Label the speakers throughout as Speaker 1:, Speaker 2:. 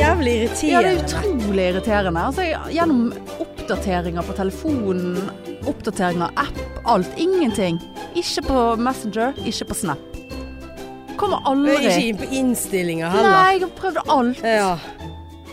Speaker 1: Ja, det er
Speaker 2: Eh, irriterende.
Speaker 1: utrolig irriterende. Altså, jeg- gjennom oppdateringer på telefonen, oppdateringer av app, alt. Ingenting. Ikke på Messenger, ikke på Snap. Kommer
Speaker 2: Du er ikke
Speaker 1: aldri.
Speaker 2: inn på innstillinger heller.
Speaker 1: Nei, jeg har prøvd alt.
Speaker 2: Ja.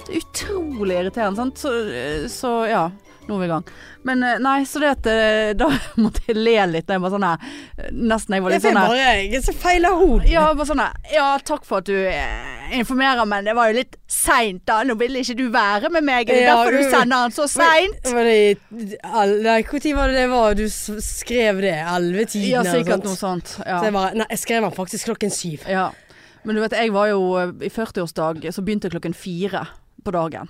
Speaker 1: Det er utrolig irriterende, sant. Så, eh, så ja. Nå er vi i gang. Men eh, nei, så det at eh, Da måtte jeg le litt. da Jeg var sånn her eh, Nesten jeg var
Speaker 2: Jeg
Speaker 1: litt
Speaker 2: fikk
Speaker 1: sånn her
Speaker 2: bare jeg er så feil av hodet.
Speaker 1: Ja, bare sånn her, ja, takk for at du eh, informerer, men det var jo litt seint da. Nå ville ikke du være med meg. Det er
Speaker 2: Ja,
Speaker 1: derfor du
Speaker 2: du-
Speaker 1: sender han så seint.
Speaker 2: Var det i el- Nei, når var det det var du s- skrev det? Elleve-tiden?
Speaker 1: Ja, sikkert noe sånt.
Speaker 2: sånn. Så jeg
Speaker 1: Ja.
Speaker 2: bare Nei, jeg skrev den faktisk klokken syv.
Speaker 1: ja. Men du vet, jeg var jo eh, i 40-årsdag, så begynte jeg klokken fire på dagen.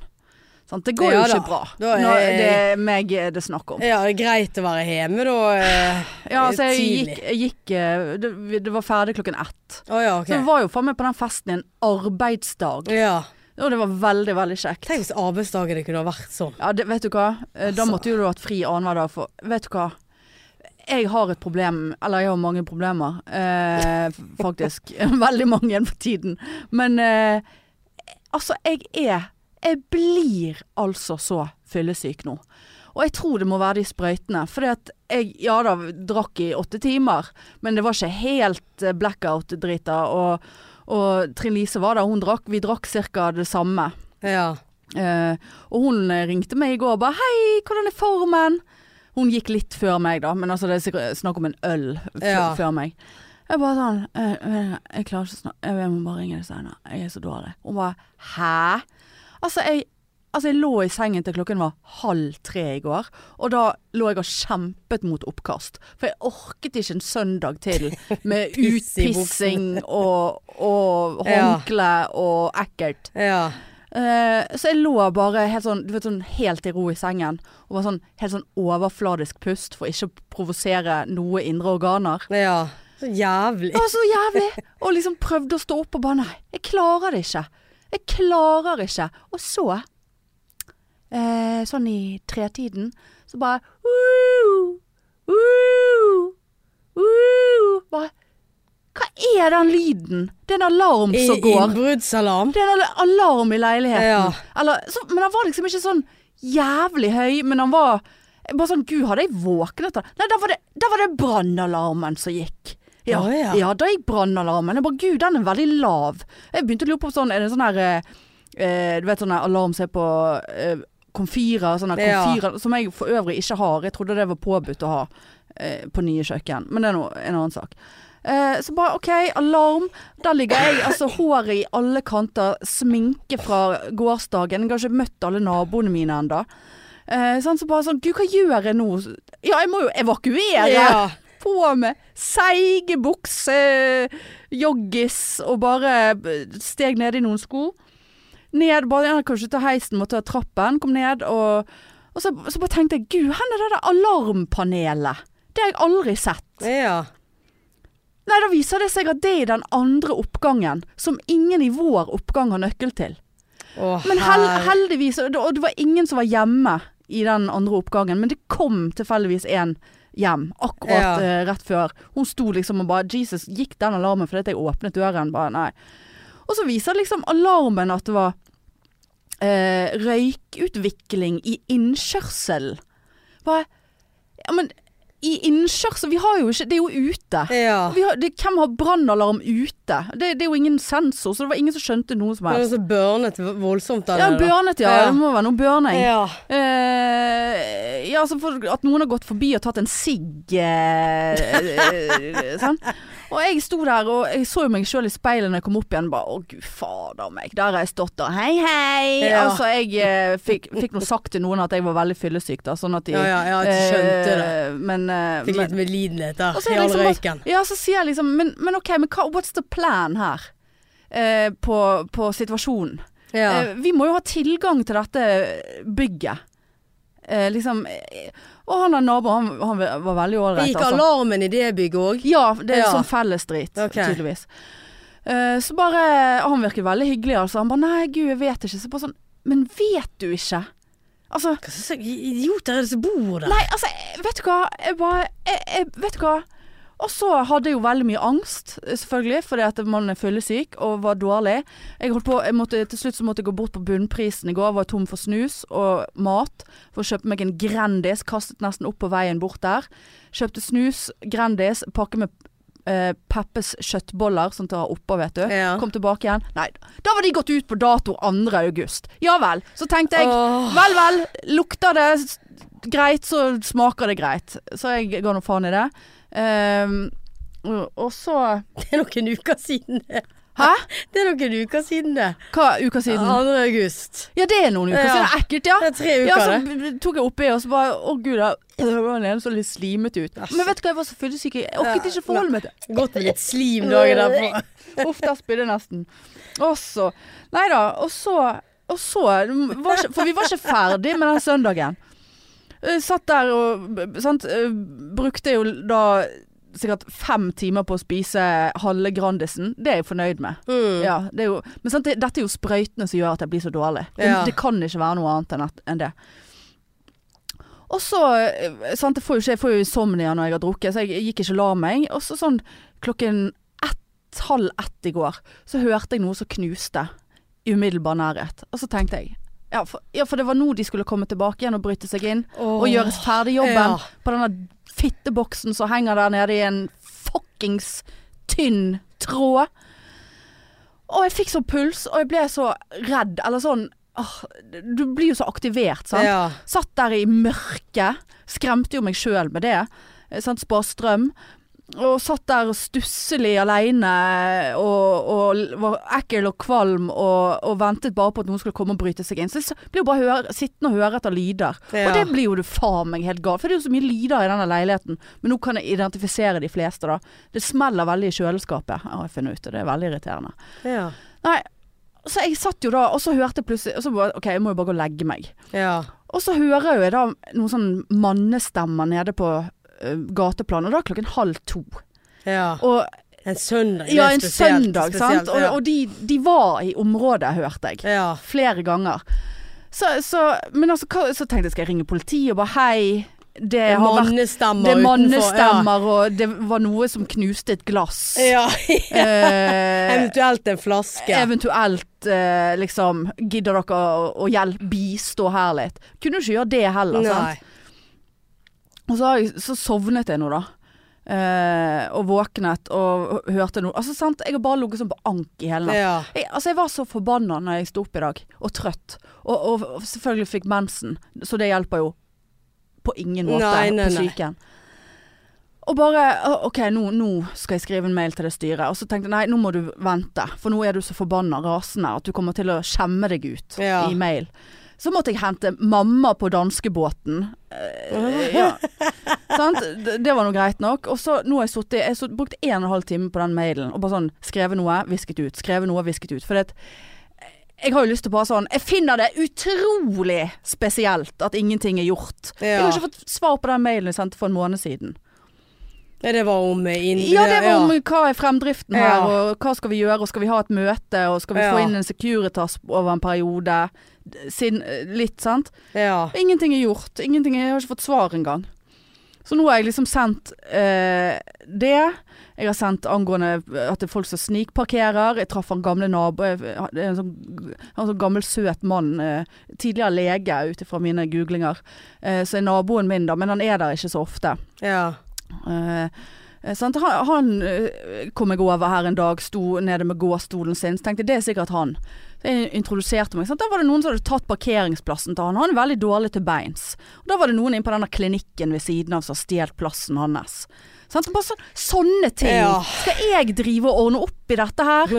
Speaker 1: Sant? Det går
Speaker 2: Ja
Speaker 1: jo
Speaker 2: da.
Speaker 1: ikke bra
Speaker 2: Da er-
Speaker 1: når det er meg eh, det er snakk om.
Speaker 2: Ja, det er greit å være hjemme da. eh,
Speaker 1: Ja, altså jeg
Speaker 2: tidlig.
Speaker 1: gikk, jeg gikk eh, det, det var ferdig klokken ett.
Speaker 2: Å ja, OK.
Speaker 1: Så jeg var jo faen meg på den festen i en arbeidsdag,
Speaker 2: Ja.
Speaker 1: og det var veldig, veldig kjekt.
Speaker 2: Tenk hvis arbeidsdagene kunne ha vært sånn.
Speaker 1: Ja, det, vet du hva? Eh, Da
Speaker 2: Altså.
Speaker 1: måtte jo du hatt fri annenhver dag, for vet du hva? Jeg har et problem, eller jeg har mange problemer, eh, faktisk. Veldig mange for tiden. Men eh, altså, jeg er Jeg blir altså så fyllesyk nå. Og jeg tror det må være de sprøytene. For jeg, ja da, drakk i åtte timer, men det var ikke helt eh, blackout-drita. Og, og Trine Lise var der, hun drakk. Vi drakk ca. det samme.
Speaker 2: Ja.
Speaker 1: Eh, og hun eh, ringte meg i går og bare 'hei, hvordan er formen?' Hun gikk litt før meg, da, men altså, det er sikkert snakk om en øl f
Speaker 2: Ja.
Speaker 1: før meg. Jeg bare sånn eh, eh, 'Jeg klarer ikke å snakke, jeg må bare ringe deg seinere. Jeg er så dårlig.' Hun bare 'hæ?' Altså, jeg Altså jeg lå i sengen til klokken var halv tre i går, og da lå jeg og kjempet mot oppkast. For jeg orket ikke en søndag til med
Speaker 2: Piss i buksene.
Speaker 1: utpissing og, og
Speaker 2: Ja.
Speaker 1: håndkle og ekkelt.
Speaker 2: Ja.
Speaker 1: Eh, så jeg lå bare helt sånn, du vet, sånn helt i ro i sengen, og var sånn helt sånn overfladisk pust for ikke å provosere noe indre organer.
Speaker 2: ja. Så jævlig.
Speaker 1: Det var så jævlig! Og liksom prøvde å stå opp og bare nei, jeg klarer det ikke. Jeg klarer ikke. Og så, eh, sånn i tretiden, så bare «Uh, uh, uh», bare, Hva er den lyden? Det er en alarm
Speaker 2: I-
Speaker 1: som går.
Speaker 2: Innbruddsalarm.
Speaker 1: Det er en al- alarm i leiligheten.
Speaker 2: Ja.
Speaker 1: Eller, så, men han var liksom ikke sånn jævlig høy, men han var bare sånn Gud, hadde jeg våknet av Nei, da var det, da var det brannalarmen som gikk. Ja,
Speaker 2: Å, ja.
Speaker 1: da gikk brannalarmen. Jeg bare Gud, den er veldig lav. Jeg begynte å lure på sånn Er det sånn her eh, eh, Du vet sånn her alarm som er på eh, komfyrer, sånne
Speaker 2: Ja.
Speaker 1: komfyrer som jeg for øvrig ikke har. Jeg trodde det var påbudt å ha eh, på nye kjøkken, men det er nå en annen sak. Eh, så bare OK, alarm. Der ligger jeg, altså håret i alle kanter, sminke fra gårsdagen. Jeg har ikke møtt alle naboene mine ennå. Eh, sånn, så bare sånn Gud, hva gjør jeg nå? Ja, jeg må jo evakuere!
Speaker 2: Ja.
Speaker 1: På med seige bukser, joggis og bare eh, steg ned i noen sko. Ned, bare, jeg kan ikke ta heisen, måtte ta trappen. Kom ned, og, og så, så bare tenkte jeg Gud, hvor er det der alarmpanelet? Det har jeg aldri sett.
Speaker 2: Ja.
Speaker 1: Nei, da viser det seg at det er den andre oppgangen, som ingen i vår oppgang har nøkkel til.
Speaker 2: Å,
Speaker 1: Men hel
Speaker 2: herre-
Speaker 1: heldigvis, og det, og det var ingen som var hjemme i den andre oppgangen, men det kom tilfeldigvis en hjem akkurat
Speaker 2: Ja.
Speaker 1: eh, rett før. Hun sto liksom og bare Jesus, gikk den alarmen fordi at jeg åpnet døren? Bare nei. Og så viser liksom alarmen at det var eh, røykutvikling i innkjørselen. Bare Ja, men i innkjørsel Vi har jo ikke Det er jo ute.
Speaker 2: Ja.
Speaker 1: Vi har, det, hvem har brannalarm ute? Det, det er jo ingen sensor, så det var ingen som skjønte noe som
Speaker 2: Det er
Speaker 1: helst.
Speaker 2: noe som børnet voldsomt av
Speaker 1: Ja,
Speaker 2: det, da.
Speaker 1: børnet, ja.
Speaker 2: Ja.
Speaker 1: Det må være noe børning. Ja.
Speaker 2: Ja.
Speaker 1: ja, altså for at noen har gått forbi og tatt en sigg eh, eh, sånn. Og jeg sto der og jeg så jo meg sjøl i speilet når jeg kom opp igjen. Bare, å, gud fader meg. Der har jeg stått og hei, hei.
Speaker 2: Ja.
Speaker 1: Altså, jeg eh, fikk, fikk nå sagt til noen at jeg var veldig fyllesyk, da. Sånn at de
Speaker 2: Ja, ja, ja, jeg skjønte det.
Speaker 1: eh, Men, eh,
Speaker 2: Fikk
Speaker 1: men
Speaker 2: litt medlidenhet der,
Speaker 1: og så
Speaker 2: i
Speaker 1: er det
Speaker 2: all
Speaker 1: liksom
Speaker 2: røyken.
Speaker 1: bare- Ja, så sier jeg liksom Men, men OK, men hva, what's the plan her? Eh, på, på situasjonen.
Speaker 2: Ja.
Speaker 1: Eh, vi må jo ha tilgang til dette bygget. Eh, liksom eh, Og han der naboen, han, han var veldig
Speaker 2: Det
Speaker 1: ålreit.
Speaker 2: gikk
Speaker 1: altså.
Speaker 2: alarmen i det bygget òg?
Speaker 1: Ja, det er
Speaker 2: Ja.
Speaker 1: sånn fellesdrit,
Speaker 2: Ok.
Speaker 1: tydeligvis. Eh, så bare og Han virker veldig hyggelig, altså. Han bare 'nei, gud, jeg vet ikke'. Så bare sånn Men vet du ikke? Altså
Speaker 2: Hva slags idioter er det som bor der?
Speaker 1: Nei, altså, jeg- vet du hva? Jeg bare jeg, jeg, Vet du hva? Og så hadde jeg jo veldig mye angst, eh, selvfølgelig, fordi at man er fyllesyk og var dårlig. Jeg holdt på, jeg måtte, til slutt så måtte jeg gå bort på bunnprisen i går, var tom for snus og mat. For å kjøpe meg en Grandis, kastet nesten opp på veien bort der. Kjøpte snus, Grandis, pakke med eh, Peppes kjøttboller, sånn til å ha oppå, vet du.
Speaker 2: Ja.
Speaker 1: Kom tilbake igjen. Nei, da var de gått ut på dato 2. august. Ja vel. Så tenkte jeg,
Speaker 2: Åh.
Speaker 1: Vel, vel. Lukter det s- greit, så smaker det greit. Så jeg ga nå faen i det. Ehm, og- og så
Speaker 2: Det er noen uker siden det.
Speaker 1: Hæ?
Speaker 2: Det er noen uker siden det.
Speaker 1: Hva uka
Speaker 2: 2.
Speaker 1: siden?
Speaker 2: august.
Speaker 1: Ja, det er noen uker
Speaker 2: Ja.
Speaker 1: siden. Ekkelt, ja.
Speaker 2: Det er tre
Speaker 1: Ja,
Speaker 2: uker,
Speaker 1: så
Speaker 2: det.
Speaker 1: b- b- tok jeg oppi, og så bare Å, gud, da. Det var den ene så litt slimet ut.
Speaker 2: Æsj.
Speaker 1: Men vet du hva, jeg var så fyllesyk. Jeg orket
Speaker 2: Ja,
Speaker 1: ikke forholde meg til
Speaker 2: Godt med litt slim dagen derpå.
Speaker 1: Uff, der spydde jeg nesten. Og så Nei da. Og så, og så var ikke, For vi var ikke ferdig med den søndagen. Eh, Satt der og b- sant, eh, Brukte jo da sikkert fem timer på å spise halve Grandisen. Det er jeg fornøyd med.
Speaker 2: Mm.
Speaker 1: Ja, det er jo, men sant, det, dette er jo sprøytene som gjør at jeg blir så dårlig. Det,
Speaker 2: Ja.
Speaker 1: det kan ikke være noe annet enn, at, enn det. Og så eh, sant, jeg, får jo ikke, jeg får jo insomnia når jeg har drukket, så jeg gikk ikke og la meg. Og så sånn klokken ett, halv ett i går, så hørte jeg noe som knuste i umiddelbar nærhet. Og så tenkte jeg ja for, ja, for det var nå de skulle komme tilbake igjen og bryte seg inn og gjøres ferdig
Speaker 2: ja.
Speaker 1: jobben på denne fitteboksen som henger der nede i en fuckings tynn tråd. Og jeg fikk så puls, og jeg ble så redd, eller sånn åh, Du blir jo så aktivert, sant.
Speaker 2: Ja.
Speaker 1: Satt der i mørket. Skremte jo meg sjøl med det. eh, Sant? Spar strøm. Og satt der stusselig aleine og, og l- var ekkel og kvalm og, og ventet bare på at noen skulle komme og bryte seg inn. Så jeg s- blir jo bare høre, sittende og høre etter lyder. Og
Speaker 2: Ja.
Speaker 1: det blir jo du faen meg helt gal. For det er jo så mye lyder i denne leiligheten. Men nå kan jeg identifisere de fleste, da. Det smeller veldig i kjøleskapet, har jeg funnet ut. Og det er veldig irriterende.
Speaker 2: Ja.
Speaker 1: Nei, så jeg satt jo da, og så hørte jeg plutselig Og så bare OK, jeg må jo bare gå og legge meg.
Speaker 2: ja.
Speaker 1: Og så hører jo jeg da noen sånn mannestemmer nede på eh, gateplan, og da er klokken halv to.
Speaker 2: ja.
Speaker 1: Og
Speaker 2: En søndag. det er
Speaker 1: ja, en
Speaker 2: spesielt,
Speaker 1: søndag,
Speaker 2: spesielt,
Speaker 1: sant. Og,
Speaker 2: ja.
Speaker 1: og de, de var i området, hørte jeg.
Speaker 2: ja.
Speaker 1: Flere ganger. Så, så, men altså, hva, så tenkte jeg skal jeg ringe politiet og bare hei. Det
Speaker 2: Det er
Speaker 1: har vært
Speaker 2: mannestemmer
Speaker 1: det er
Speaker 2: utenfor, ja.
Speaker 1: mannestemmer, og det var noe som knuste et glass.
Speaker 2: Ja.
Speaker 1: Eh,
Speaker 2: Eventuelt en flaske.
Speaker 1: Eventuelt eh, liksom Gidder dere å, å hjelpe, bistå her litt? Kunne jo ikke gjøre det heller, sant?
Speaker 2: Nei.
Speaker 1: Og så, har jeg, så sovnet jeg nå, da. Eh, og våknet og hørte noe. Altså, sant? Jeg har bare ligget sånn på ank i hele natt.
Speaker 2: Ja.
Speaker 1: Jeg, altså, jeg var så forbanna når jeg sto opp i dag, og trøtt. Og, og, og selvfølgelig fikk mensen, så det hjelper jo på ingen måte
Speaker 2: Nei, nei,
Speaker 1: på
Speaker 2: nei.
Speaker 1: psyken. Og bare «Å, OK, nå, nå skal jeg skrive en mail til det styret. Og så tenkte jeg nei, nå må du vente, for nå er du så forbanna rasende at du kommer til å skjemme deg ut
Speaker 2: Ja.
Speaker 1: i mail. Så måtte jeg hente mamma på danskebåten. Eh, ja. Sant? Det, det var nå greit nok. Og så nå har jeg sittet Jeg har sutt- brukt en og en halv time på den mailen og bare sånn skrevet noe, visket ut, skrevet noe, visket ut. For det, jeg har jo lyst til å bare sånn Jeg finner det utrolig spesielt at ingenting er gjort. Jeg
Speaker 2: Ja.
Speaker 1: har ikke fått svar på den mailen jeg sendte for en måned siden.
Speaker 2: Ja, Det var om inn...
Speaker 1: Ja, det var om hva er fremdriften her,
Speaker 2: Ja.
Speaker 1: og hva skal vi gjøre, og skal vi ha et møte, og skal vi
Speaker 2: Ja.
Speaker 1: få inn en Securitas over en periode? Siden, eh, litt, sant?
Speaker 2: Ja.
Speaker 1: Ingenting er gjort. Ingenting, jeg har ikke fått svar engang. Så nå har jeg liksom sendt eh, det. Jeg har sendt angående eh, at det er folk som snikparkerer. Jeg traff han gamle nabo jeg- Det er en sånn, en sånn gammel, søt mann. Eh, tidligere lege, ut ifra mine googlinger. Eh, så er naboen min, da. Men han er der ikke så ofte.
Speaker 2: Ja.
Speaker 1: Eh, eh, sant? Han, han eh, kom jeg over her en dag, sto nede med gåstolen sin. Så tenkte jeg det er sikkert han. Så jeg introduserte meg. Sant? Da var det noen som hadde tatt parkeringsplassen til han. Han er veldig dårlig til beins. Og da var det noen inne på denne klinikken ved siden av som har stjålet plassen hans. Sant? Bare sånn- sånne ting.
Speaker 2: Ja.
Speaker 1: Skal jeg drive og ordne opp i dette her?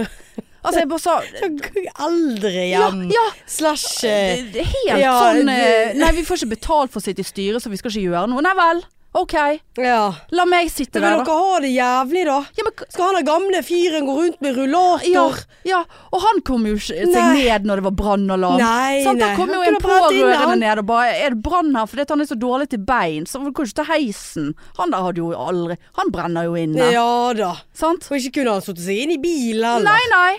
Speaker 1: Altså, jeg bare sa
Speaker 2: Eldrehjem
Speaker 1: Ja, ja.
Speaker 2: slash eh,
Speaker 1: Det- det er Helt
Speaker 2: Ja,
Speaker 1: sånn
Speaker 2: det-
Speaker 1: eh, Nei, vi får ikke betalt for å sitte i styret, så vi skal ikke gjøre noe. Nei vel. OK.
Speaker 2: Ja.
Speaker 1: La meg sitte
Speaker 2: Men vil
Speaker 1: der, da.
Speaker 2: dere ha det jævlig, da?
Speaker 1: Ja, men
Speaker 2: Skal han der gamle fyren gå rundt med rullator?
Speaker 1: Ja, ja, og han kom jo ikke seg
Speaker 2: Nei.
Speaker 1: ned når det var brannalarm.
Speaker 2: Nei,
Speaker 1: Sant? Da
Speaker 2: nei,
Speaker 1: kom
Speaker 2: han
Speaker 1: jo
Speaker 2: kunne ha
Speaker 1: en
Speaker 2: brent inn,
Speaker 1: pårørende
Speaker 2: han.
Speaker 1: ned og bare 'Er det brann her?' fordi at han er så dårlig til bein. Så han kan ikke ta heisen. Han der hadde jo aldri Han brenner jo inne.
Speaker 2: Ja da.
Speaker 1: Sant?
Speaker 2: Og ikke kunne han satt seg inn i bilen heller.
Speaker 1: Nei, nei.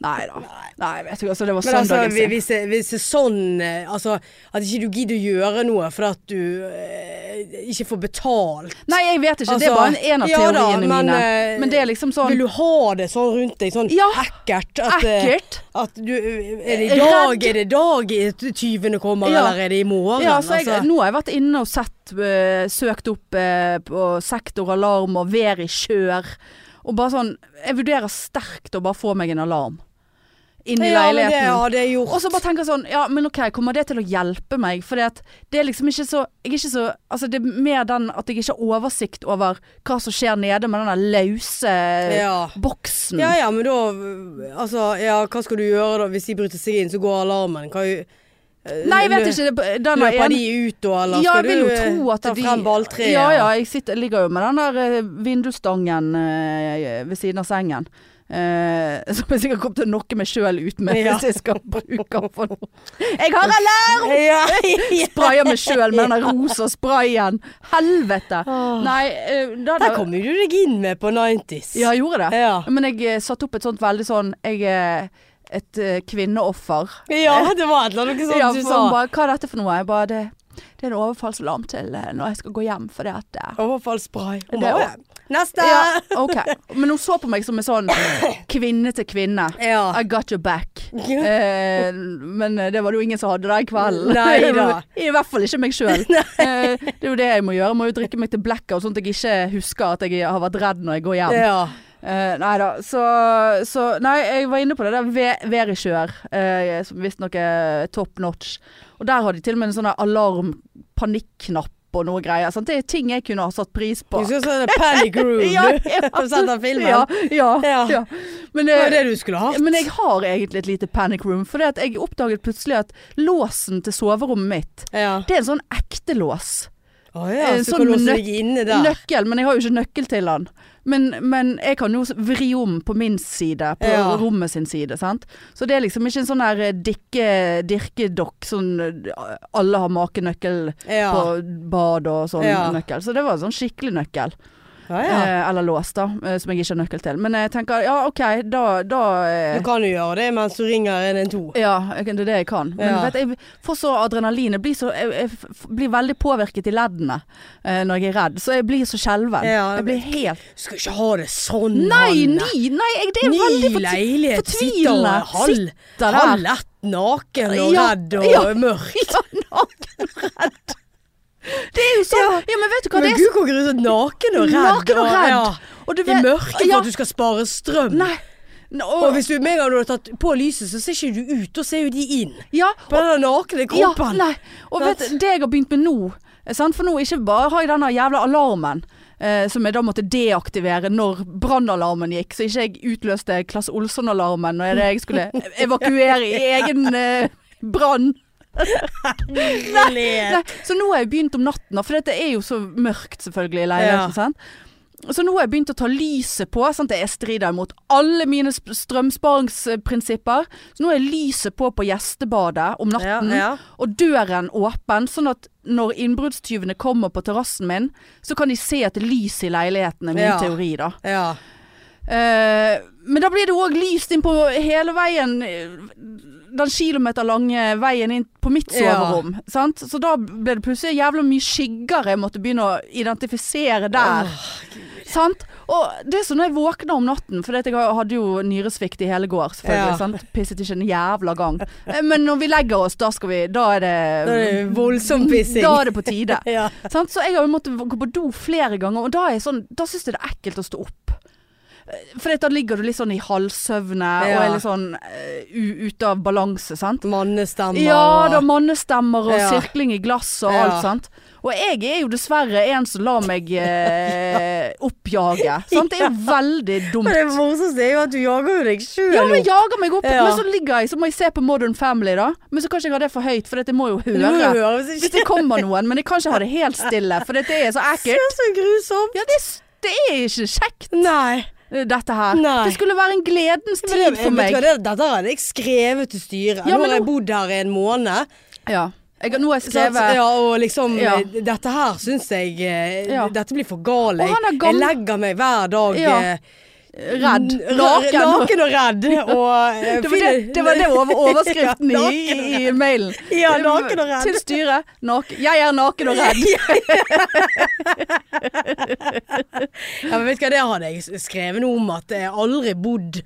Speaker 1: Nei da. Nei, jeg vet ikke. Altså, det var
Speaker 2: Men altså,
Speaker 1: søndagen
Speaker 2: vi-
Speaker 1: sin.
Speaker 2: hvis det, hvis det er sånn eh, altså, At ikke du gidder å gjøre noe fordi at du eh, ikke får betalt.
Speaker 1: Nei, jeg vet ikke. det
Speaker 2: Altså,
Speaker 1: er bare en, en av
Speaker 2: ja da,
Speaker 1: teoriene
Speaker 2: men,
Speaker 1: mine.
Speaker 2: eh,
Speaker 1: Men det er liksom sånn
Speaker 2: Vil du ha det sånn rundt deg? Sånn
Speaker 1: Ja,
Speaker 2: ekkelt? At, eh,
Speaker 1: ekkelt.
Speaker 2: At du, eh, er det i dag,
Speaker 1: Redd.
Speaker 2: er det i dag i t- tyvene kommer,
Speaker 1: Ja.
Speaker 2: eller er det i morgen?
Speaker 1: Ja, så jeg,
Speaker 2: altså?
Speaker 1: nå har jeg vært inne og sett, eh, søkt opp eh, på sektoralarm og vær i kjør. Og bare sånn Jeg vurderer sterkt å bare få meg en alarm inni
Speaker 2: ja, men det
Speaker 1: leiligheten.
Speaker 2: har det gjort.
Speaker 1: Og så bare tenker jeg sånn Ja, men ok, kommer det til å hjelpe meg? For det er liksom ikke så Jeg er ikke så Altså det er mer den at jeg ikke har oversikt over hva som skjer nede med den der lause
Speaker 2: Ja.
Speaker 1: boksen.
Speaker 2: ja ja, men da Altså, ja, hva skal du gjøre da? Hvis de bryter seg inn, så går alarmen. Hva,
Speaker 1: Nei, jeg vet ikke. det- Den er
Speaker 2: Løper
Speaker 1: en
Speaker 2: de ut da, eller
Speaker 1: ja,
Speaker 2: skal
Speaker 1: jeg vil jo
Speaker 2: du eh,
Speaker 1: tro at
Speaker 2: ta
Speaker 1: de
Speaker 2: frem balltreet?
Speaker 1: Ja, ja, jeg sitter, ligger jo med den der eh, vindusstangen eh, ved siden av sengen. Eh, som jeg sikkert kommer til å nokke meg sjøl ut med
Speaker 2: Ja.
Speaker 1: hvis jeg skal bruke den for noe. Jeg har alarm!
Speaker 2: Ja.
Speaker 1: Sprayer meg sjøl med den rosa sprayen. Helvete! Nei, eh, da,
Speaker 2: Der kom jo du deg inn med på 90s.
Speaker 1: Ja, jeg gjorde det.
Speaker 2: ja.
Speaker 1: Men jeg eh, satte opp et sånt veldig sånn Jeg er et eh, kvinneoffer.
Speaker 2: Ja, det var et eller annet sånt
Speaker 1: ja,
Speaker 2: Sånn du
Speaker 1: for
Speaker 2: sa.
Speaker 1: hun bare, hva er dette for noe? Jeg bare, det, det er en overfallsalarm til eh, når jeg skal gå hjem, fordi at eh,
Speaker 2: Overfallsspray. Hun
Speaker 1: Det er
Speaker 2: bare,
Speaker 1: også-
Speaker 2: «Å, Neste!
Speaker 1: Ja, ok. Men hun så på meg som en sånn kvinne til kvinne.
Speaker 2: Ja.
Speaker 1: I got your back. Eh, men eh, det var det jo ingen som hadde den kvelden.
Speaker 2: Nei da.
Speaker 1: I hvert fall ikke meg sjøl. Eh, det er jo det jeg må gjøre. Jeg må jo drikke meg til blekka, sånn at jeg ikke husker at jeg har vært redd når jeg går hjem.
Speaker 2: Ja.
Speaker 1: Eh, nei da. Så, så Nei, jeg var inne på det der Ve- Verikjør, eh, som visstnok er top notch. Og der har de til og med en sånn alarm-panikknapp og noe greier. Sant? Det er ting jeg kunne ha satt pris på.
Speaker 2: Du skal se det sånn Panic Room,
Speaker 1: Ja,
Speaker 2: du.
Speaker 1: ja.
Speaker 2: Har du sett den filmen?
Speaker 1: Ja, ja,
Speaker 2: Ja.
Speaker 1: ja. Men,
Speaker 2: Det var
Speaker 1: eh,
Speaker 2: det du skulle ha.
Speaker 1: men jeg har egentlig et lite panic room. For det at jeg oppdaget plutselig at låsen til soverommet mitt,
Speaker 2: Ja.
Speaker 1: det er en sånn ekte lås.
Speaker 2: Å ja,
Speaker 1: Eh,
Speaker 2: så
Speaker 1: sånn
Speaker 2: kan du også
Speaker 1: nøk-
Speaker 2: ligge inne der.
Speaker 1: Nøkkel, men jeg har jo ikke nøkkel til den. Men, men jeg kan jo vri om på min side, på
Speaker 2: Ja.
Speaker 1: rommet sin side. Sant? Så det er liksom ikke en sånn der eh, dikke, dirkedokk, sånn eh, alle har makenøkkel
Speaker 2: Ja.
Speaker 1: på bad og sånn
Speaker 2: Ja.
Speaker 1: nøkkel. Så det var en sånn skikkelig nøkkel.
Speaker 2: Ja, ja.
Speaker 1: Eh, eller lås, da, eh, som jeg ikke har nøkkel til. Men jeg tenker ja, OK, da, da
Speaker 2: Du
Speaker 1: eh,
Speaker 2: kan jo gjøre det mens du ringer 112.
Speaker 1: Ja, jeg kan- det er det jeg kan. Men
Speaker 2: Ja.
Speaker 1: vet, du, jeg får så adrenalin. Jeg blir, så, jeg, jeg f- blir veldig påvirket i leddene eh, når jeg er redd. Så jeg blir så skjelven.
Speaker 2: Ja,
Speaker 1: jeg
Speaker 2: jeg
Speaker 1: blir helt
Speaker 2: Du skal ikke ha det sånn,
Speaker 1: Nei,
Speaker 2: Hanne.
Speaker 1: ni! Nei, jeg, det er
Speaker 2: Ny
Speaker 1: veldig fortvilende.
Speaker 2: leilighet. Sitter
Speaker 1: fortvilende.
Speaker 2: og halv,
Speaker 1: der.
Speaker 2: halv ett, naken og
Speaker 1: Ja,
Speaker 2: redd og
Speaker 1: ja.
Speaker 2: mørk.
Speaker 1: Det er jo sånn. Ja, men vet du hva det
Speaker 2: Men
Speaker 1: er?
Speaker 2: gud hvor grusomt. Naken og redd.
Speaker 1: Naken og redd.
Speaker 2: Ja.
Speaker 1: Og du
Speaker 2: I
Speaker 1: vet-
Speaker 2: mørket for
Speaker 1: Ja.
Speaker 2: at du skal spare strøm.
Speaker 1: Nei. Nå-
Speaker 2: Og hvis du med en gang du har tatt på lyset, så ser ikke du ut, da ser jo de inn.
Speaker 1: ja,
Speaker 2: På den nakne kroppen.
Speaker 1: Ja, nei. Og vet, du, det jeg har begynt med nå eh, sant? For nå ikke bare har jeg denne jævla alarmen eh, som jeg da måtte deaktivere når brannalarmen gikk, så ikke jeg utløste Klasse Olsson-alarmen når jeg skulle evakuere i egen eh, brann.
Speaker 2: Nei.
Speaker 1: Nei, så nå har jeg begynt om natten, da, for det er jo så mørkt selvfølgelig i leiligheten.
Speaker 2: Ja.
Speaker 1: Sant? Så nå har jeg begynt å ta lyset på. Sant? Jeg strider imot alle mine sp- strømsparingsprinsipper. Så nå er lyset på på gjestebadet om natten,
Speaker 2: Ja, ja.
Speaker 1: og døren åpen. Sånn at når innbruddstyvene kommer på terrassen min, så kan de se at det er lys i leiligheten, er min
Speaker 2: Ja.
Speaker 1: teori, da.
Speaker 2: Ja.
Speaker 1: Eh, men da blir det òg lyst inn på hele veien eh, Den kilometer lange veien inn på mitt
Speaker 2: Ja.
Speaker 1: soverom. Sant? Så da ble det plutselig jævla mye skygger jeg måtte begynne å identifisere der. sant? Og det er sånn når jeg våkner om natten, for jeg har- hadde jo nyresvikt i hele går, selvfølgelig.
Speaker 2: Ja.
Speaker 1: Sant? Pisset ikke en jævla gang. Eh, Men når vi legger oss, da skal vi Da er det,
Speaker 2: Da er det voldsom pissing.
Speaker 1: Da er det på tide.
Speaker 2: Ja.
Speaker 1: Sant? Så jeg har jo måttet gå på do flere ganger, og da, er jeg sånn, da syns jeg det er ekkelt å stå opp. For da ligger du litt sånn i halvsøvne og
Speaker 2: Ja.
Speaker 1: er litt sånn eh, u- ute av balanse, sant.
Speaker 2: Mannestemmer.
Speaker 1: Ja, da
Speaker 2: og-
Speaker 1: mannestemmer og
Speaker 2: Ja.
Speaker 1: sirkling i glass og
Speaker 2: Ja.
Speaker 1: alt, sant. Og jeg er jo dessverre en som lar meg eh, oppjage. Sant? Det er jo veldig
Speaker 2: Men
Speaker 1: dumt.
Speaker 2: det morsomste er jo at du jager jo deg sjøl
Speaker 1: Ja, men
Speaker 2: opp.
Speaker 1: jeg jager meg opp,
Speaker 2: Ja.
Speaker 1: men så ligger jeg, så må jeg se på Modern Family, da. Men så kan ikke jeg ha det for høyt, for dette må jo
Speaker 2: Du
Speaker 1: altså,
Speaker 2: må jo
Speaker 1: høre.
Speaker 2: høre hvis
Speaker 1: Hvis
Speaker 2: ikke
Speaker 1: det kommer noen, men jeg kan ikke ha det helt stille, for dette er så
Speaker 2: Det
Speaker 1: ekkelt.
Speaker 2: er så grusomt.
Speaker 1: Ja, det, s- det er ikke kjekt, eh,
Speaker 2: Nei.
Speaker 1: dette her.
Speaker 2: Nei.
Speaker 1: Det skulle være en gledens
Speaker 2: Men det-
Speaker 1: tid for
Speaker 2: vet du
Speaker 1: meg.
Speaker 2: hva, det- Dette hadde jeg skrevet til styret.
Speaker 1: Ja,
Speaker 2: Nå
Speaker 1: men
Speaker 2: har jeg
Speaker 1: nå-
Speaker 2: bodd her i en måned.
Speaker 1: Ja. Jeg, nå har jeg
Speaker 2: Sant?
Speaker 1: skrevet
Speaker 2: Sånn, ja, og liksom
Speaker 1: Ja.
Speaker 2: eh, Dette her syns jeg eh,
Speaker 1: Ja.
Speaker 2: Dette blir for galt.
Speaker 1: Og han er
Speaker 2: Jeg
Speaker 1: gammel-
Speaker 2: legger meg hver dag
Speaker 1: Ja.
Speaker 2: eh,
Speaker 1: Redd.
Speaker 2: N-
Speaker 1: Naken.
Speaker 2: Naken og redd. Og, eh,
Speaker 1: Det var det,
Speaker 2: finner-
Speaker 1: det var det over overskriften
Speaker 2: Ja,
Speaker 1: i,
Speaker 2: naken og
Speaker 1: i, i mailen.
Speaker 2: redd. Ja, naken og redd.
Speaker 1: Til styret. Naken. Jeg er naken og redd.
Speaker 2: Ja, men vet du hva, det hadde jeg skrevet noe om, at jeg aldri bodd